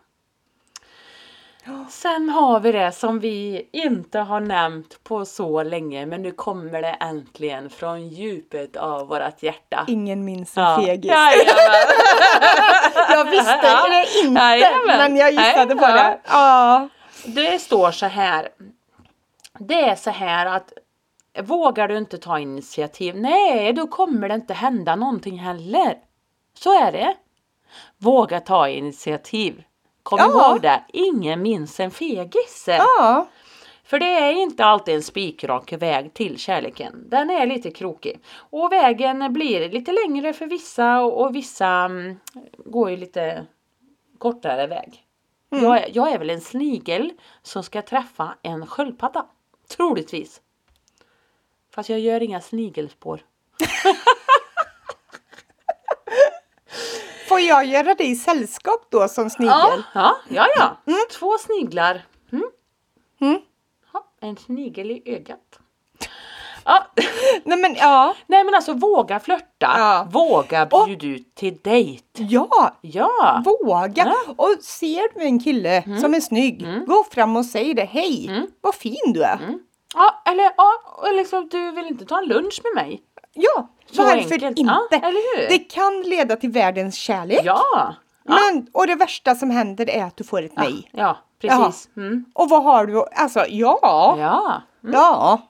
Speaker 2: Sen har vi det som vi inte har nämnt på så länge men nu kommer det äntligen från djupet av vårat hjärta.
Speaker 1: Ingen minns en
Speaker 2: Ja.
Speaker 1: fegis.
Speaker 2: Jajamän.
Speaker 1: Jag visste
Speaker 2: Ja.
Speaker 1: det inte,
Speaker 2: Jajamän.
Speaker 1: men jag gissade
Speaker 2: Nej,
Speaker 1: på
Speaker 2: ja.
Speaker 1: det. Ja.
Speaker 2: Det står så här. Det är så här att vågar du inte ta initiativ, nej då kommer det inte hända någonting heller. Så är det. Våga ta initiativ. Kom
Speaker 1: Ja.
Speaker 2: ihåg det, ingen minns en fegis.
Speaker 1: ja.
Speaker 2: För det är inte alltid en spikrak väg till kärleken. Den är lite krokig. Och vägen blir lite längre för vissa och, och vissa mm, går ju lite kortare väg. Jag, är, jag är väl en snigel som ska träffa en sköldpadda. Troligtvis. Fast jag gör inga snigelspår.
Speaker 1: Får jag göra dig i sällskap då som
Speaker 2: Ja,
Speaker 1: snigel?
Speaker 2: ja, ja. ja. Två sniglar. Mm.
Speaker 1: Mm.
Speaker 2: Ja, en snigel i ögat. Ja.
Speaker 1: Nej men ja.
Speaker 2: Nej men alltså våga flörta.
Speaker 1: Ja.
Speaker 2: Våga bjud ut till dejt.
Speaker 1: Ja,
Speaker 2: Ja.
Speaker 1: våga.
Speaker 2: Ja. Mm.
Speaker 1: Och ser du en kille som är snygg, gå fram och säg det. Hej, vad fin du
Speaker 2: Mm.
Speaker 1: är.
Speaker 2: ja. Eller ja, eller liksom, du vill inte ta en lunch med mig.
Speaker 1: Ja,
Speaker 2: Så
Speaker 1: varför
Speaker 2: enkelt.
Speaker 1: inte?
Speaker 2: Ja, eller hur?
Speaker 1: Det kan leda till världens kärlek.
Speaker 2: Ja.
Speaker 1: Men, och det värsta som händer är att du får ett nej.
Speaker 2: Ja, precis. Mm.
Speaker 1: Och vad har du? Alltså, ja. Ja.
Speaker 2: Ja.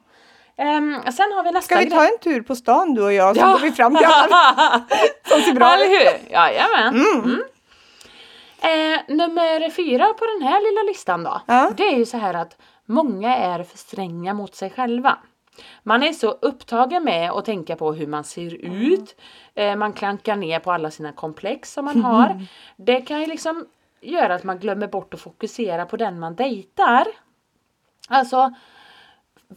Speaker 2: Ehm, sen har vi nästa
Speaker 1: Ska vi
Speaker 2: grej.
Speaker 1: ta en tur på stan du och jag så
Speaker 2: Ja.
Speaker 1: går vi fram
Speaker 2: [LAUGHS]
Speaker 1: till alla som ser bra
Speaker 2: Eller
Speaker 1: ut?
Speaker 2: hur? Jajamän. Mm. Eh, nummer fyra på den här lilla listan då.
Speaker 1: Ja.
Speaker 2: Det är ju så här att många är för stränga mot sig själva. Man är så upptagen med att tänka på hur man ser ut. Eh, man klankar ner på alla sina komplex som man
Speaker 1: [LAUGHS]
Speaker 2: har. Det kan ju liksom göra att man glömmer bort att fokusera på den man dejtar. Alltså,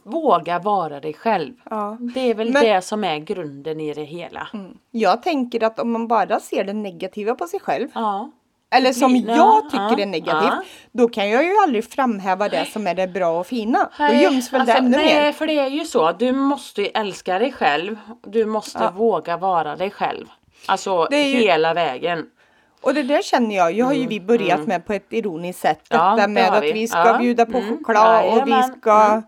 Speaker 2: våga vara dig själv.
Speaker 1: Ja.
Speaker 2: Det är väl
Speaker 1: Men- Mm.
Speaker 2: det som är grunden i det hela.
Speaker 1: Jag tänker att om man bara ser det negativa på sig själv,
Speaker 2: Ja.
Speaker 1: eller som
Speaker 2: blir-
Speaker 1: jag
Speaker 2: ja,
Speaker 1: tycker
Speaker 2: ja,
Speaker 1: är negativt,
Speaker 2: ja.
Speaker 1: då kan jag ju aldrig framhäva det som är det bra och fina. Då
Speaker 2: Nej, alltså,
Speaker 1: göms väl det ännu
Speaker 2: nej,
Speaker 1: mer.
Speaker 2: för det är ju så. Du måste ju älska dig själv. Du måste våga vara dig själv. Alltså
Speaker 1: Det är ju-
Speaker 2: hela vägen.
Speaker 1: Och det där känner jag, ju har ju vi börjat med på ett ironiskt sätt.
Speaker 2: Mm, Ja,
Speaker 1: Detta
Speaker 2: det
Speaker 1: med
Speaker 2: har
Speaker 1: att
Speaker 2: vi.
Speaker 1: vi, ska
Speaker 2: Ja.
Speaker 1: bjuda på
Speaker 2: Mm.
Speaker 1: choklad och vi
Speaker 2: Jajamän. Mm.
Speaker 1: ska...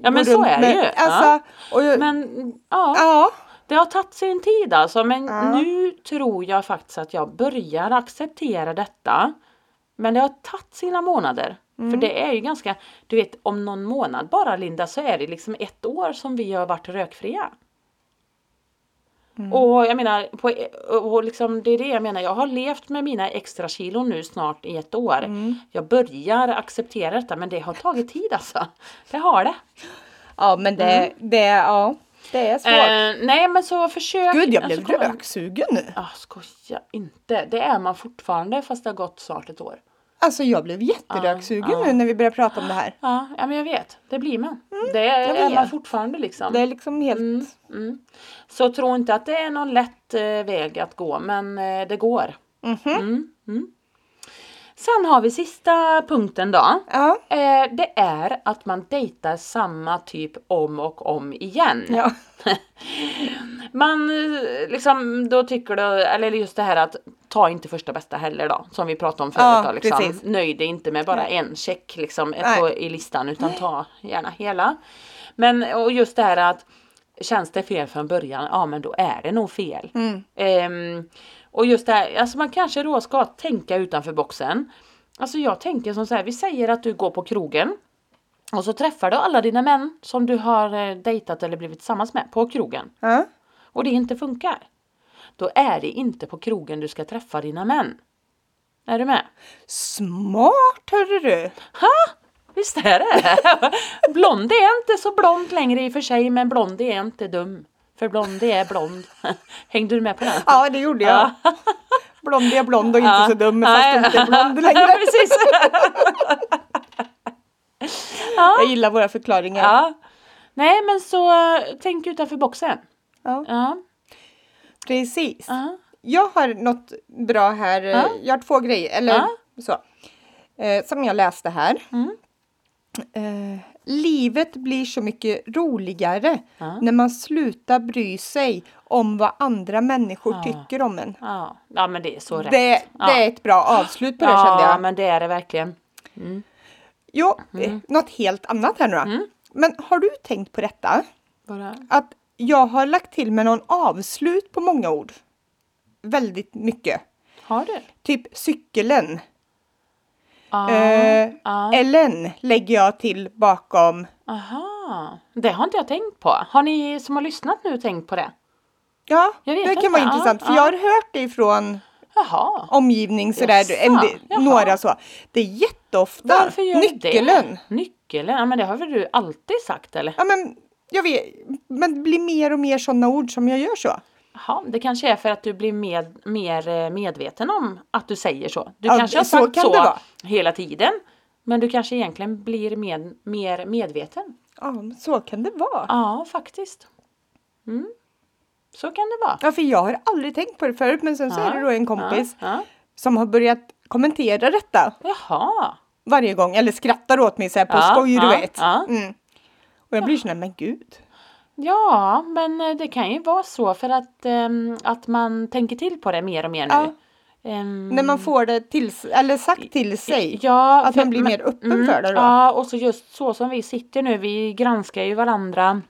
Speaker 2: Ja
Speaker 1: gå
Speaker 2: men så
Speaker 1: runt
Speaker 2: är det
Speaker 1: med-
Speaker 2: ju. ja.
Speaker 1: Alltså, och jag,
Speaker 2: Men ja,
Speaker 1: ja.
Speaker 2: det har tagit sin tid alltså. Men
Speaker 1: Ja.
Speaker 2: nu tror jag faktiskt att jag börjar acceptera detta. Men det har tagit sina månader.
Speaker 1: Mm.
Speaker 2: För det är ju ganska, du vet om någon månad bara Linda så är det liksom ett år som vi har varit rökfria.
Speaker 1: Mm.
Speaker 2: Och jag menar, på, och liksom, det är det jag menar, jag har levt med mina extra kilo nu snart i ett år.
Speaker 1: Mm.
Speaker 2: Jag börjar acceptera detta men det har tagit tid alltså. Det har det.
Speaker 1: ja, men det, Mm. det, ja, det är svårt.
Speaker 2: Eh, nej men så försök.
Speaker 1: Gud, jag blev
Speaker 2: alltså, kom-
Speaker 1: röksugen nu.
Speaker 2: Ah, skoja inte. Det är man fortfarande fast det har gått snart ett år.
Speaker 1: Alltså jag blev jätteröksugen nu när vi började prata om det här.
Speaker 2: Ja, ja men jag vet. Det blir man. det
Speaker 1: Mm, jag
Speaker 2: är man
Speaker 1: vet.
Speaker 2: fortfarande liksom.
Speaker 1: Det är liksom helt...
Speaker 2: Mm, mm. Så tro inte att det är någon lätt eh, väg att gå, men eh, det går.
Speaker 1: Mhm.
Speaker 2: Mm, mm. Sen har vi sista punkten då.
Speaker 1: Ja.
Speaker 2: Eh, det är att man dejtar samma typ om och om igen.
Speaker 1: Ja.
Speaker 2: Man eh, liksom, då tycker du, eller just det här att ta inte första bästa heller då, som vi pratade om förut.
Speaker 1: Ja,
Speaker 2: då, liksom.
Speaker 1: precis.
Speaker 2: Nöj dig inte med bara en check liksom,
Speaker 1: Nej.
Speaker 2: på, i listan utan ta gärna hela. Men och just det här att känns det fel från början, ja men då är det nog fel.
Speaker 1: Mm.
Speaker 2: Ehm, och just det här, alltså man kanske då ska tänka utanför boxen. Alltså jag tänker som så här, vi säger att du går på krogen och så träffar du alla dina män som du har eh, dejtat eller blivit tillsammans med på krogen
Speaker 1: Ja.
Speaker 2: och det inte funkar. Då är det inte på krogen du ska träffa dina män. Är du med?
Speaker 1: Smart hörru du!
Speaker 2: Ha! Visst [LAUGHS] är det? blond är inte så blond längre i och för sig, men blond är inte dum. För Blondie är blond. [LAUGHS] Hängde du med på den?
Speaker 1: Ja, det gjorde jag. Blond är blond och inte
Speaker 2: Ja.
Speaker 1: så dum fast
Speaker 2: Nej.
Speaker 1: hon inte är
Speaker 2: [LAUGHS]
Speaker 1: blond längre.
Speaker 2: Ja,
Speaker 1: [LAUGHS]
Speaker 2: precis.
Speaker 1: Jag gillar våra förklaringar.
Speaker 2: Ja. Nej men så eh, tänk utanför boxen.
Speaker 1: Ja.
Speaker 2: Ja.
Speaker 1: Precis.
Speaker 2: ja.
Speaker 1: Jag har något bra här. eh,
Speaker 2: Ja.
Speaker 1: Jag har två grejer, eller
Speaker 2: Ja.
Speaker 1: så. Eh, som jag läste här.
Speaker 2: Mm.
Speaker 1: Eh, livet blir så mycket roligare
Speaker 2: Ja.
Speaker 1: när man slutar bry sig om vad andra människor
Speaker 2: Ja.
Speaker 1: tycker om en.
Speaker 2: Ja. ja men det är så
Speaker 1: Det,
Speaker 2: rätt.
Speaker 1: det
Speaker 2: Ja.
Speaker 1: är ett bra avslut på det kände
Speaker 2: ja
Speaker 1: jag.
Speaker 2: men det är det verkligen. Mm.
Speaker 1: Jo, mm. något helt annat här nu då.
Speaker 2: Mm.
Speaker 1: Men har du tänkt på detta?
Speaker 2: Bara.
Speaker 1: Att jag har lagt till med någon avslut på många ord. Väldigt mycket.
Speaker 2: Har du?
Speaker 1: Typ cykeln.
Speaker 2: Ja.
Speaker 1: Eh,
Speaker 2: ja.
Speaker 1: Ellen lägger jag till bakom.
Speaker 2: Aha. Det har inte jag tänkt på. Har ni som har lyssnat nu tänkt på det?
Speaker 1: Ja,
Speaker 2: Jag
Speaker 1: det
Speaker 2: vet
Speaker 1: kan
Speaker 2: inte,
Speaker 1: vara
Speaker 2: ja,
Speaker 1: intressant. För
Speaker 2: ja.
Speaker 1: jag har hört det ifrån
Speaker 2: Jaha.
Speaker 1: omgivning sådär.
Speaker 2: Jaså,
Speaker 1: en del-
Speaker 2: jaha.
Speaker 1: några så. Det är jätteofta.
Speaker 2: Varför gör
Speaker 1: Nyckeln.
Speaker 2: du det? Nyckeln? Ja men det har väl du alltid sagt eller?
Speaker 1: Ja, men jag vet. Men det blir mer och mer sådana ord som jag gör så.
Speaker 2: Jaha, det kanske är för att du blir med, mer eh, medveten om att du säger så. Du
Speaker 1: Ja,
Speaker 2: kanske har
Speaker 1: så
Speaker 2: sagt
Speaker 1: kan
Speaker 2: så,
Speaker 1: det vara.
Speaker 2: hela tiden. Men du kanske egentligen blir med, mer medveten.
Speaker 1: Ja, men så kan det vara.
Speaker 2: Ja, faktiskt. Mm. Så kan det vara.
Speaker 1: Ja, för jag har aldrig tänkt på det förut. Men sen så
Speaker 2: Ja,
Speaker 1: är det då en kompis
Speaker 2: Ja,
Speaker 1: som har börjat kommentera detta
Speaker 2: ja. Jaha.
Speaker 1: varje gång. Eller skrattar åt mig så här på
Speaker 2: Ja,
Speaker 1: skoj, du
Speaker 2: ja,
Speaker 1: vet.
Speaker 2: ja.
Speaker 1: Mm. Och jag blir sådär, men gud.
Speaker 2: Ja, men eh, det kan ju vara så för att, ehm, att man tänker till på det mer och mer nu.
Speaker 1: Ja.
Speaker 2: Ehm,
Speaker 1: När man får det till, eller sagt till sig.
Speaker 2: Ja,
Speaker 1: Att
Speaker 2: för- mm,
Speaker 1: man blir mer öppen för det då.
Speaker 2: Ja, och så just så som vi sitter nu, vi granskar ju varandra.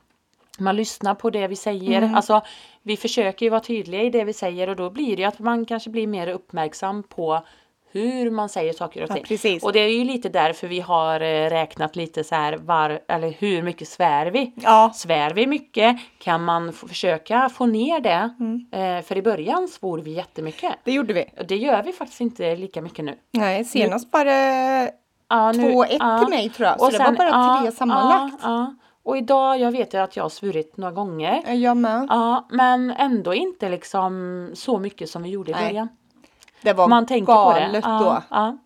Speaker 2: Man lyssnar på det vi säger.
Speaker 1: Mm.
Speaker 2: Alltså, vi försöker ju vara tydliga i det vi säger och då blir det ju att man kanske blir mer uppmärksam på hur man säger saker och
Speaker 1: Ja,
Speaker 2: ting.
Speaker 1: precis.
Speaker 2: Och det är ju lite därför vi har eh, räknat lite så här var, eller hur mycket svär vi?
Speaker 1: Ja,
Speaker 2: Svär vi mycket? Kan man f- försöka få ner det? Eh, för i början svor vi jättemycket.
Speaker 1: Mm. det gjorde vi.
Speaker 2: Och det gör vi faktiskt inte lika mycket nu.
Speaker 1: Nej, senast var det
Speaker 2: Ja, nu-
Speaker 1: 2-1
Speaker 2: ja.
Speaker 1: till mig tror jag. Så det var bara
Speaker 2: ja,
Speaker 1: tre sammanlagt.
Speaker 2: Ja, ja. Och idag, jag vet ju att jag har svurit några gånger.
Speaker 1: Ja, Jag med.
Speaker 2: Ja, men ändå inte liksom så mycket som vi gjorde i
Speaker 1: Nej,
Speaker 2: början.
Speaker 1: Det var
Speaker 2: Man tänker på det.
Speaker 1: galet
Speaker 2: Ja,
Speaker 1: då.
Speaker 2: Ja.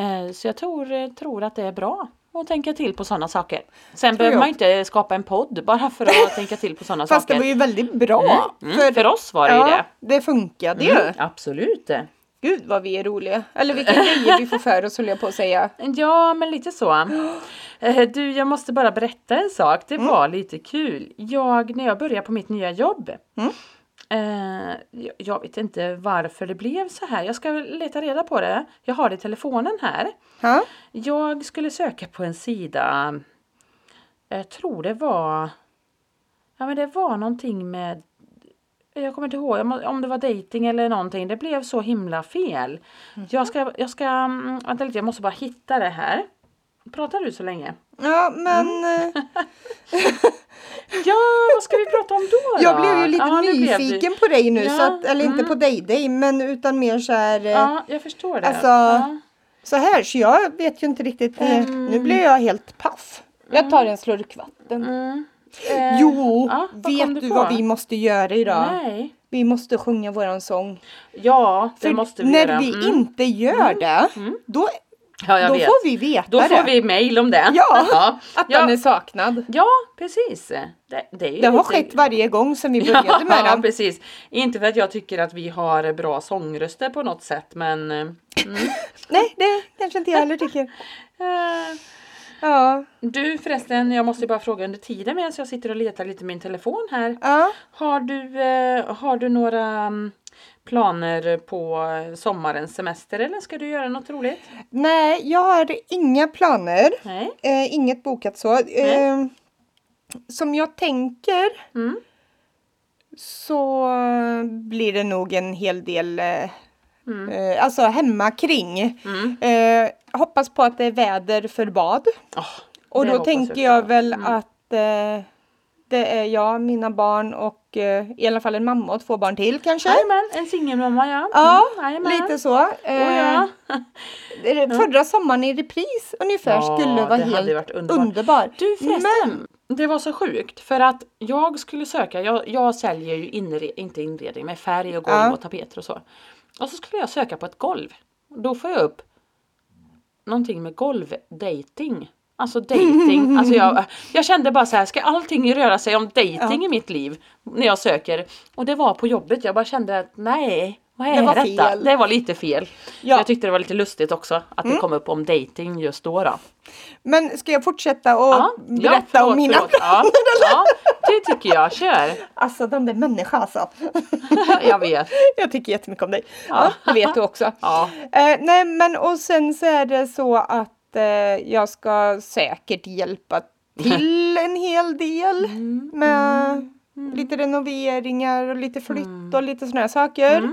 Speaker 2: Eh, Så jag tror, tror att det är bra att tänka till på sådana saker. Sen behöver
Speaker 1: jag
Speaker 2: man ju inte skapa en podd bara för
Speaker 1: [LAUGHS]
Speaker 2: att tänka till på sådana
Speaker 1: Fast det
Speaker 2: saker.
Speaker 1: var ju väldigt bra.
Speaker 2: Mm, för, oss var det ju
Speaker 1: ja,
Speaker 2: det.
Speaker 1: det funkade ju.
Speaker 2: Mm, absolut.
Speaker 1: Gud vad vi är roliga. Eller vilka grejer vi får för oss höll jag på att säga.
Speaker 2: Ja, men lite så. Eh, Du, jag måste bara berätta en sak.
Speaker 1: Mm.
Speaker 2: Det var lite kul. Jag, när jag började på mitt nya jobb.
Speaker 1: Mm.
Speaker 2: eh, jag- jag vet inte varför det blev så här. Jag ska leta reda på det. Jag har det i telefonen här.
Speaker 1: Ha?
Speaker 2: Jag skulle söka på en sida. Jag tror det var. Ja, men det var någonting med. Jag kommer inte ihåg om- om det var dating eller någonting. Det blev så himla fel.
Speaker 1: Mhm.
Speaker 2: Jag ska, jag ska, mm, vänta lite, jag måste bara hitta det här. Pratar du
Speaker 1: [LAUGHS]
Speaker 2: så länge?
Speaker 1: Ja, men
Speaker 2: Mm.
Speaker 1: eh,
Speaker 2: Ja, vad ska vi prata om då? då?
Speaker 1: jag blev ju lite
Speaker 2: Ja, nu blev du-
Speaker 1: nyfiken på dig nu. Så
Speaker 2: Ja,
Speaker 1: att, eller inte
Speaker 2: mm.
Speaker 1: på dig, dig, men utan mer så här. eh,
Speaker 2: Ja, jag förstår det.
Speaker 1: Alltså,
Speaker 2: ja.
Speaker 1: Så här, så jag vet ju inte riktigt. eh,
Speaker 2: Mm.
Speaker 1: Nu blir jag helt paff. Jag tar en slurk vatten.
Speaker 2: mm. Eh,
Speaker 1: Jo,
Speaker 2: ja, vad kom
Speaker 1: vet
Speaker 2: du
Speaker 1: du
Speaker 2: på?
Speaker 1: vad vi måste göra idag?
Speaker 2: Nej.
Speaker 1: Vi måste sjunga våran sång.
Speaker 2: Ja, det
Speaker 1: För
Speaker 2: måste vi
Speaker 1: när
Speaker 2: göra.
Speaker 1: vi
Speaker 2: Mm.
Speaker 1: inte gör det, då,
Speaker 2: ja, jag
Speaker 1: då
Speaker 2: vet.
Speaker 1: får vi veta
Speaker 2: Då
Speaker 1: det.
Speaker 2: får vi mejl om det.
Speaker 1: Ja,
Speaker 2: [LAUGHS] ja.
Speaker 1: Att
Speaker 2: ja.
Speaker 1: den är saknad.
Speaker 2: ja precis. Det, det, är ju
Speaker 1: Det har
Speaker 2: lite-
Speaker 1: skett varje gång sedan vi började med
Speaker 2: [LAUGHS] Ja,
Speaker 1: den.
Speaker 2: precis. Inte för att jag tycker att vi har bra sångröster på något sätt, men... eh, Mm.
Speaker 1: Nej, det kanske inte jag heller tycker.
Speaker 2: Eh,
Speaker 1: Ja,
Speaker 2: du förresten, jag måste ju bara fråga under tiden medan jag sitter och letar lite i min telefon här.
Speaker 1: ja.
Speaker 2: Har du, eh, har du några mm, planer på sommarens semester eller ska du göra något roligt?
Speaker 1: Nej, jag har inga planer.
Speaker 2: Nej.
Speaker 1: Eh, inget bokat så. Eh, som jag tänker
Speaker 2: Mm.
Speaker 1: så blir det nog en hel del eh,
Speaker 2: Mm.
Speaker 1: eh, alltså hemma kring.
Speaker 2: Mm.
Speaker 1: Eh, hoppas på att det är väder för bad.
Speaker 2: Åh,
Speaker 1: Och
Speaker 2: det
Speaker 1: då
Speaker 2: hoppas Mm.
Speaker 1: tänker
Speaker 2: ska
Speaker 1: jag
Speaker 2: vara.
Speaker 1: väl att eh, det är jag, mina barn och eh, i alla fall en mamma och två barn till kanske.
Speaker 2: Jajamän, en singelmamma ja.
Speaker 1: Ja,
Speaker 2: Mm, jajamän.
Speaker 1: Lite så. Eh,
Speaker 2: Oh, ja.
Speaker 1: det- Förra sommaren i repris ungefär
Speaker 2: Ja,
Speaker 1: skulle vara
Speaker 2: det hade
Speaker 1: helt
Speaker 2: varit underbart.
Speaker 1: underbar.
Speaker 2: Du förresten,
Speaker 1: Men
Speaker 2: Det var så sjukt för att jag skulle söka, jag, jag säljer ju inre, inte inredning med färg och golv
Speaker 1: Ja.
Speaker 2: och tapeter och så. Och så skulle jag söka på ett golv. Då får jag upp någonting med golvdating.
Speaker 1: [LAUGHS]
Speaker 2: Alltså dating, alltså jag, jag kände bara så här, ska allting röra sig om dating i mitt liv? När jag söker. Och det var på jobbet, jag bara kände att nej, vad är
Speaker 1: Det var
Speaker 2: detta?
Speaker 1: fel.
Speaker 2: Det var lite fel.
Speaker 1: Ja. Mm.
Speaker 2: Jag tyckte det var lite lustigt också att det kom upp om dating just då. då.
Speaker 1: Men ska jag fortsätta och
Speaker 2: Ja, ja,
Speaker 1: berätta
Speaker 2: förlåt,
Speaker 1: om mina
Speaker 2: förlåt. Ja, ja, det tycker jag. Kör!
Speaker 1: [LAUGHS]
Speaker 2: [LAUGHS]
Speaker 1: Alltså den där människan alltså.
Speaker 2: jag vet.
Speaker 1: jag tycker jättemycket om dig. Ja, det vet du också.
Speaker 2: Ja.
Speaker 1: Eh, nej men och sen så är det så att eh, jag ska säkert hjälpa till en hel del
Speaker 2: Mm.
Speaker 1: med lite renoveringar och lite flytt
Speaker 2: Mm.
Speaker 1: och lite sådana här saker.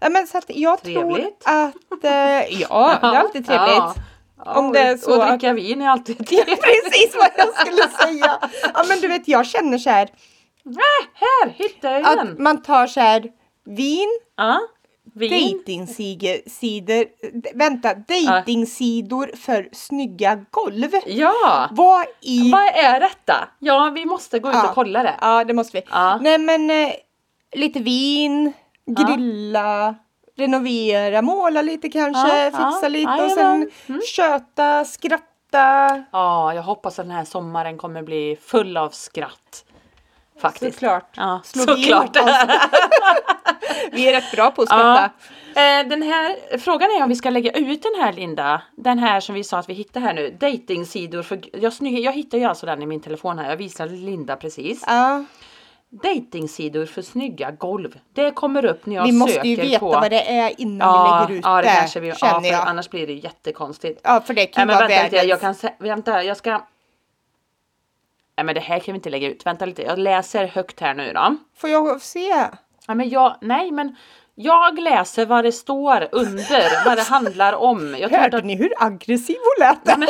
Speaker 1: Ja, men så att jag
Speaker 2: Trevligt.
Speaker 1: tror att,
Speaker 2: [LAUGHS]
Speaker 1: eh, ja det är alltid trevligt.
Speaker 2: Ja.
Speaker 1: [LAUGHS]
Speaker 2: Ja,
Speaker 1: Om det är så
Speaker 2: och
Speaker 1: att- [LAUGHS]
Speaker 2: dricka vin är alltid
Speaker 1: Det är
Speaker 2: trevligt.
Speaker 1: precis vad jag skulle säga. Ja men du vet jag känner så här
Speaker 2: Ah, här, hittade jag
Speaker 1: att
Speaker 2: den!
Speaker 1: man tar så här vin,
Speaker 2: Ja, vin.
Speaker 1: dejtingsidor, vänta, dejtingsidor för snygga golv.
Speaker 2: Ja!
Speaker 1: Vad i...
Speaker 2: Vad är detta? Ja, vi måste gå ut
Speaker 1: Ja.
Speaker 2: och kolla det.
Speaker 1: Ja det måste vi.
Speaker 2: Ja.
Speaker 1: Nej men eh, lite vin,
Speaker 2: Ja.
Speaker 1: grilla, renovera, måla lite kanske,
Speaker 2: Ja,
Speaker 1: fixa
Speaker 2: ja.
Speaker 1: lite och
Speaker 2: Jajamän. Mm.
Speaker 1: sen köta, skratta.
Speaker 2: Ja, jag hoppas att den här sommaren kommer bli full av skratt. Faktiskt.
Speaker 1: Såklart.
Speaker 2: Ja,
Speaker 1: Slår vi
Speaker 2: såklart. [LAUGHS]
Speaker 1: ihop oss? Vi är rätt bra på att
Speaker 2: Ja.
Speaker 1: skratta.
Speaker 2: Eh, Den här, frågan är om vi ska lägga ut den här Linda, den här som vi sa att vi hittade här nu, datingsidor för jag, sny- jag hittade ju alltså den i min telefon här, jag visade Linda precis.
Speaker 1: Ja.
Speaker 2: Datingsidor för snygga golv. Det kommer upp när jag
Speaker 1: Vi
Speaker 2: söker
Speaker 1: måste ju veta
Speaker 2: på...
Speaker 1: vad det är innan
Speaker 2: ja,
Speaker 1: vi lägger ut
Speaker 2: ja, det
Speaker 1: det,
Speaker 2: kanske vi, ja,
Speaker 1: känner
Speaker 2: för
Speaker 1: jag.
Speaker 2: annars blir det ju jättekonstigt.
Speaker 1: Ja, för det
Speaker 2: Nej
Speaker 1: kan ju
Speaker 2: men
Speaker 1: vara
Speaker 2: vänta lite,
Speaker 1: världens...
Speaker 2: jag, jag kan sä- vänta, jag ska... Nej men det här kan vi inte lägga ut, vänta lite, jag läser högt här nu då.
Speaker 1: Får jag se?
Speaker 2: Ja, men jag, nej men jag läser vad det står under, vad det handlar om. Jag trodde
Speaker 1: Hörde
Speaker 2: att,
Speaker 1: ni hur aggressiv hon lät?
Speaker 2: nej, men,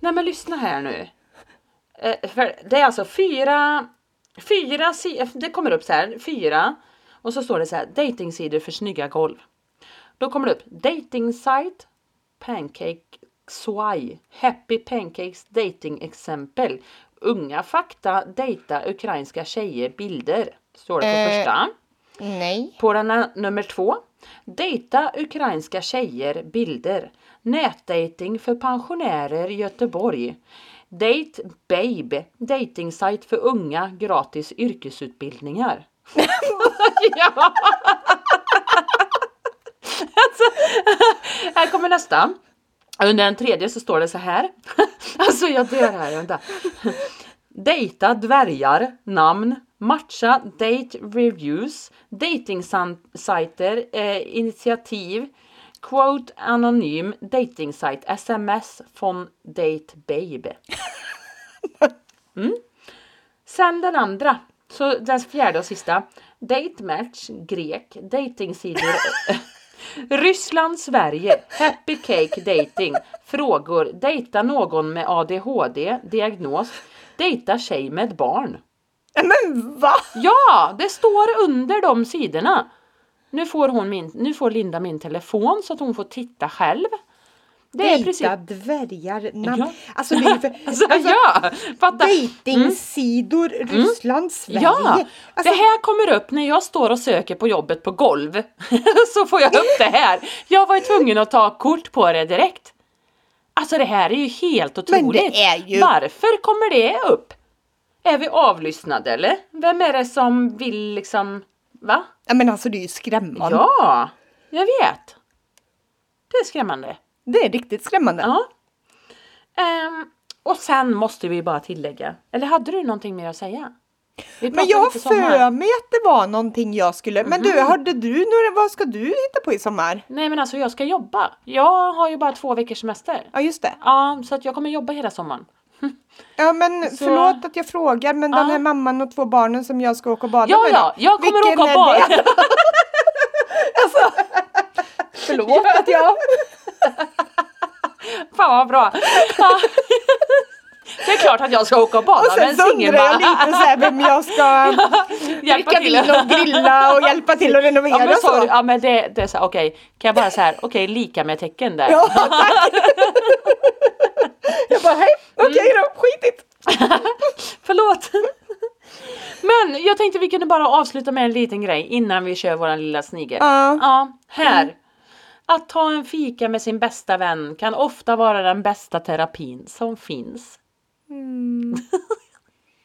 Speaker 2: nej men lyssna här nu. Eh, för det är alltså fyra, fyra, si- eh, det kommer upp så här, fyra och så står det så här, datingsidor för snygga golv. Då kommer det upp dating site, pancake swai, happy pancakes dating exempel, unga fakta, dejta ukrainska tjejer, bilder. Står det på
Speaker 1: Eh,
Speaker 2: första.
Speaker 1: Nej.
Speaker 2: På den här, nummer två. Dejta ukrainska tjejer, bilder. Nätdating för pensionärer, Göteborg. Date Babe, datingsajt för unga, gratis yrkesutbildningar. [LAUGHS] ja. alltså, här kommer nästa. Under den tredje så står det så här. [LAUGHS] alltså jag dör här, vänta. Dejta dvärgar, namn, matcha, date reviews, datingsajter, eh, initiativ, quote anonym, datingsajt, sms från date babe. Mm. Sen den andra, så den fjärde och sista. Date match, grek, datingsidor. Ryssland, Sverige, happy cake dating, frågor, dejta någon med ADHD, diagnos, dejta tjej med barn.
Speaker 1: Men va?
Speaker 2: Ja, det står under de sidorna. Nu får, hon min, nu får Linda min telefon så att hon får titta själv. Det är
Speaker 1: Dejta
Speaker 2: precis...
Speaker 1: dvärgar namn.
Speaker 2: Ja.
Speaker 1: Alltså det är ju för...
Speaker 2: [LAUGHS] Alltså,
Speaker 1: alltså,
Speaker 2: ja, fatta.
Speaker 1: Dejtingsidor, Ryssland, Sverige.
Speaker 2: Mm. Ja,
Speaker 1: alltså,
Speaker 2: det här kommer upp när jag står och söker på jobbet på golv. [LAUGHS] så får jag upp det här. Jag var ju tvungen att ta kort på det direkt. Alltså det här är ju helt otroligt.
Speaker 1: Men det är ju-
Speaker 2: Varför kommer det upp? Är vi avlyssnade eller? Vem är det som vill liksom, va?
Speaker 1: ja, men alltså det är ju skrämmande.
Speaker 2: Ja, jag vet. Det är skrämmande.
Speaker 1: Det är riktigt skrämmande.
Speaker 2: Ja. Ehm, och sen måste vi bara tillägga, eller hade du någonting mer att säga? Vi
Speaker 1: Men
Speaker 2: pratar
Speaker 1: jag har
Speaker 2: lite Mm-hmm. sommar.
Speaker 1: för mig att det var någonting jag skulle... Men du, hörde du några... Vad ska du hitta på i sommar?
Speaker 2: Nej men alltså jag ska jobba. Jag har ju bara två veckors semester.
Speaker 1: Ja, just det.
Speaker 2: Ja, så att jag kommer jobba hela sommaren.
Speaker 1: Ja, men
Speaker 2: Så-
Speaker 1: förlåt att jag frågar, men den
Speaker 2: Ja.
Speaker 1: här mamman och två barnen som jag ska åka och bada
Speaker 2: Ja,
Speaker 1: med
Speaker 2: ja,
Speaker 1: då,
Speaker 2: jag kommer
Speaker 1: vilken
Speaker 2: åka
Speaker 1: är
Speaker 2: och
Speaker 1: det? Alltså,
Speaker 2: bada.
Speaker 1: Förlåt [LAUGHS] att jag...
Speaker 2: Fan vad bra. Ja. Det är klart att jag ska åka och bada
Speaker 1: Och
Speaker 2: med en
Speaker 1: sen så undrar jag
Speaker 2: singelman.
Speaker 1: lite så här vem jag [LAUGHS] ska dricka vin och grilla och hjälpa till att renovera
Speaker 2: Ja men,
Speaker 1: och
Speaker 2: sorry,
Speaker 1: så.
Speaker 2: ja, men det, det är så här, okej, kan jag bara så här, okej, lika med tecken där.
Speaker 1: [LAUGHS] Mm. Ja, tack! jag bara, hej, okej då, skitigt.
Speaker 2: Förlåt! Men jag tänkte vi kunde bara avsluta med en liten grej innan vi kör våran lilla snigel.
Speaker 1: Ja. Mm.
Speaker 2: Ja, här. Att ta en fika med sin bästa vän kan ofta vara den bästa terapin som finns. [LAUGHS]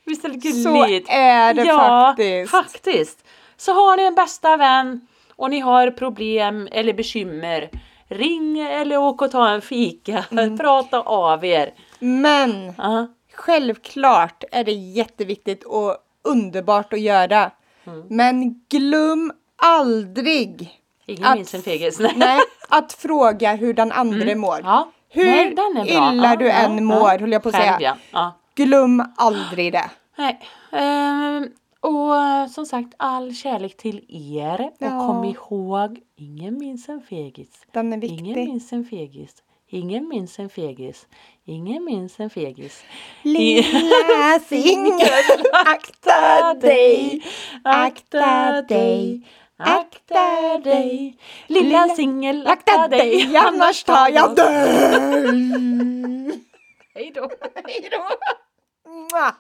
Speaker 2: Visst är det
Speaker 1: Mm. Så
Speaker 2: gulligt?
Speaker 1: är det
Speaker 2: ja,
Speaker 1: faktiskt.
Speaker 2: faktiskt. Så har ni en bästa vän och ni har problem eller bekymmer, ring eller åk och ta en fika.
Speaker 1: Mm.
Speaker 2: [LAUGHS] Prata av er.
Speaker 1: Men
Speaker 2: Ja,
Speaker 1: självklart är det jätteviktigt och underbart att göra. Mm. Men glöm aldrig
Speaker 2: ingen
Speaker 1: Att-
Speaker 2: minns en fegis. Nej.
Speaker 1: [LAUGHS] nej, att fråga hur den andra mår.
Speaker 2: Ja.
Speaker 1: Hur
Speaker 2: Nej, den är bra.
Speaker 1: Mm. illa
Speaker 2: Ja,
Speaker 1: du
Speaker 2: ja,
Speaker 1: än
Speaker 2: ja.
Speaker 1: mår, höll jag på att
Speaker 2: Själv,
Speaker 1: säga.
Speaker 2: ja. ja.
Speaker 1: Glöm aldrig det.
Speaker 2: Nej. Ehm, och eh, som sagt, all kärlek till er.
Speaker 1: Ja.
Speaker 2: Och kom ihåg, ingen minns en fegis.
Speaker 1: Den är
Speaker 2: Ingen
Speaker 1: viktig.
Speaker 2: minns en fegis. Ingen minns en fegis. Ingen minns en fegis.
Speaker 1: [LAUGHS] Lilla singel, akta dig.
Speaker 2: akta dig, akta dig. Lilla
Speaker 1: Lilla-
Speaker 2: singel,
Speaker 1: Akta dig, annars tar jag dig.
Speaker 2: Hej då.
Speaker 1: Hej då. Mwah.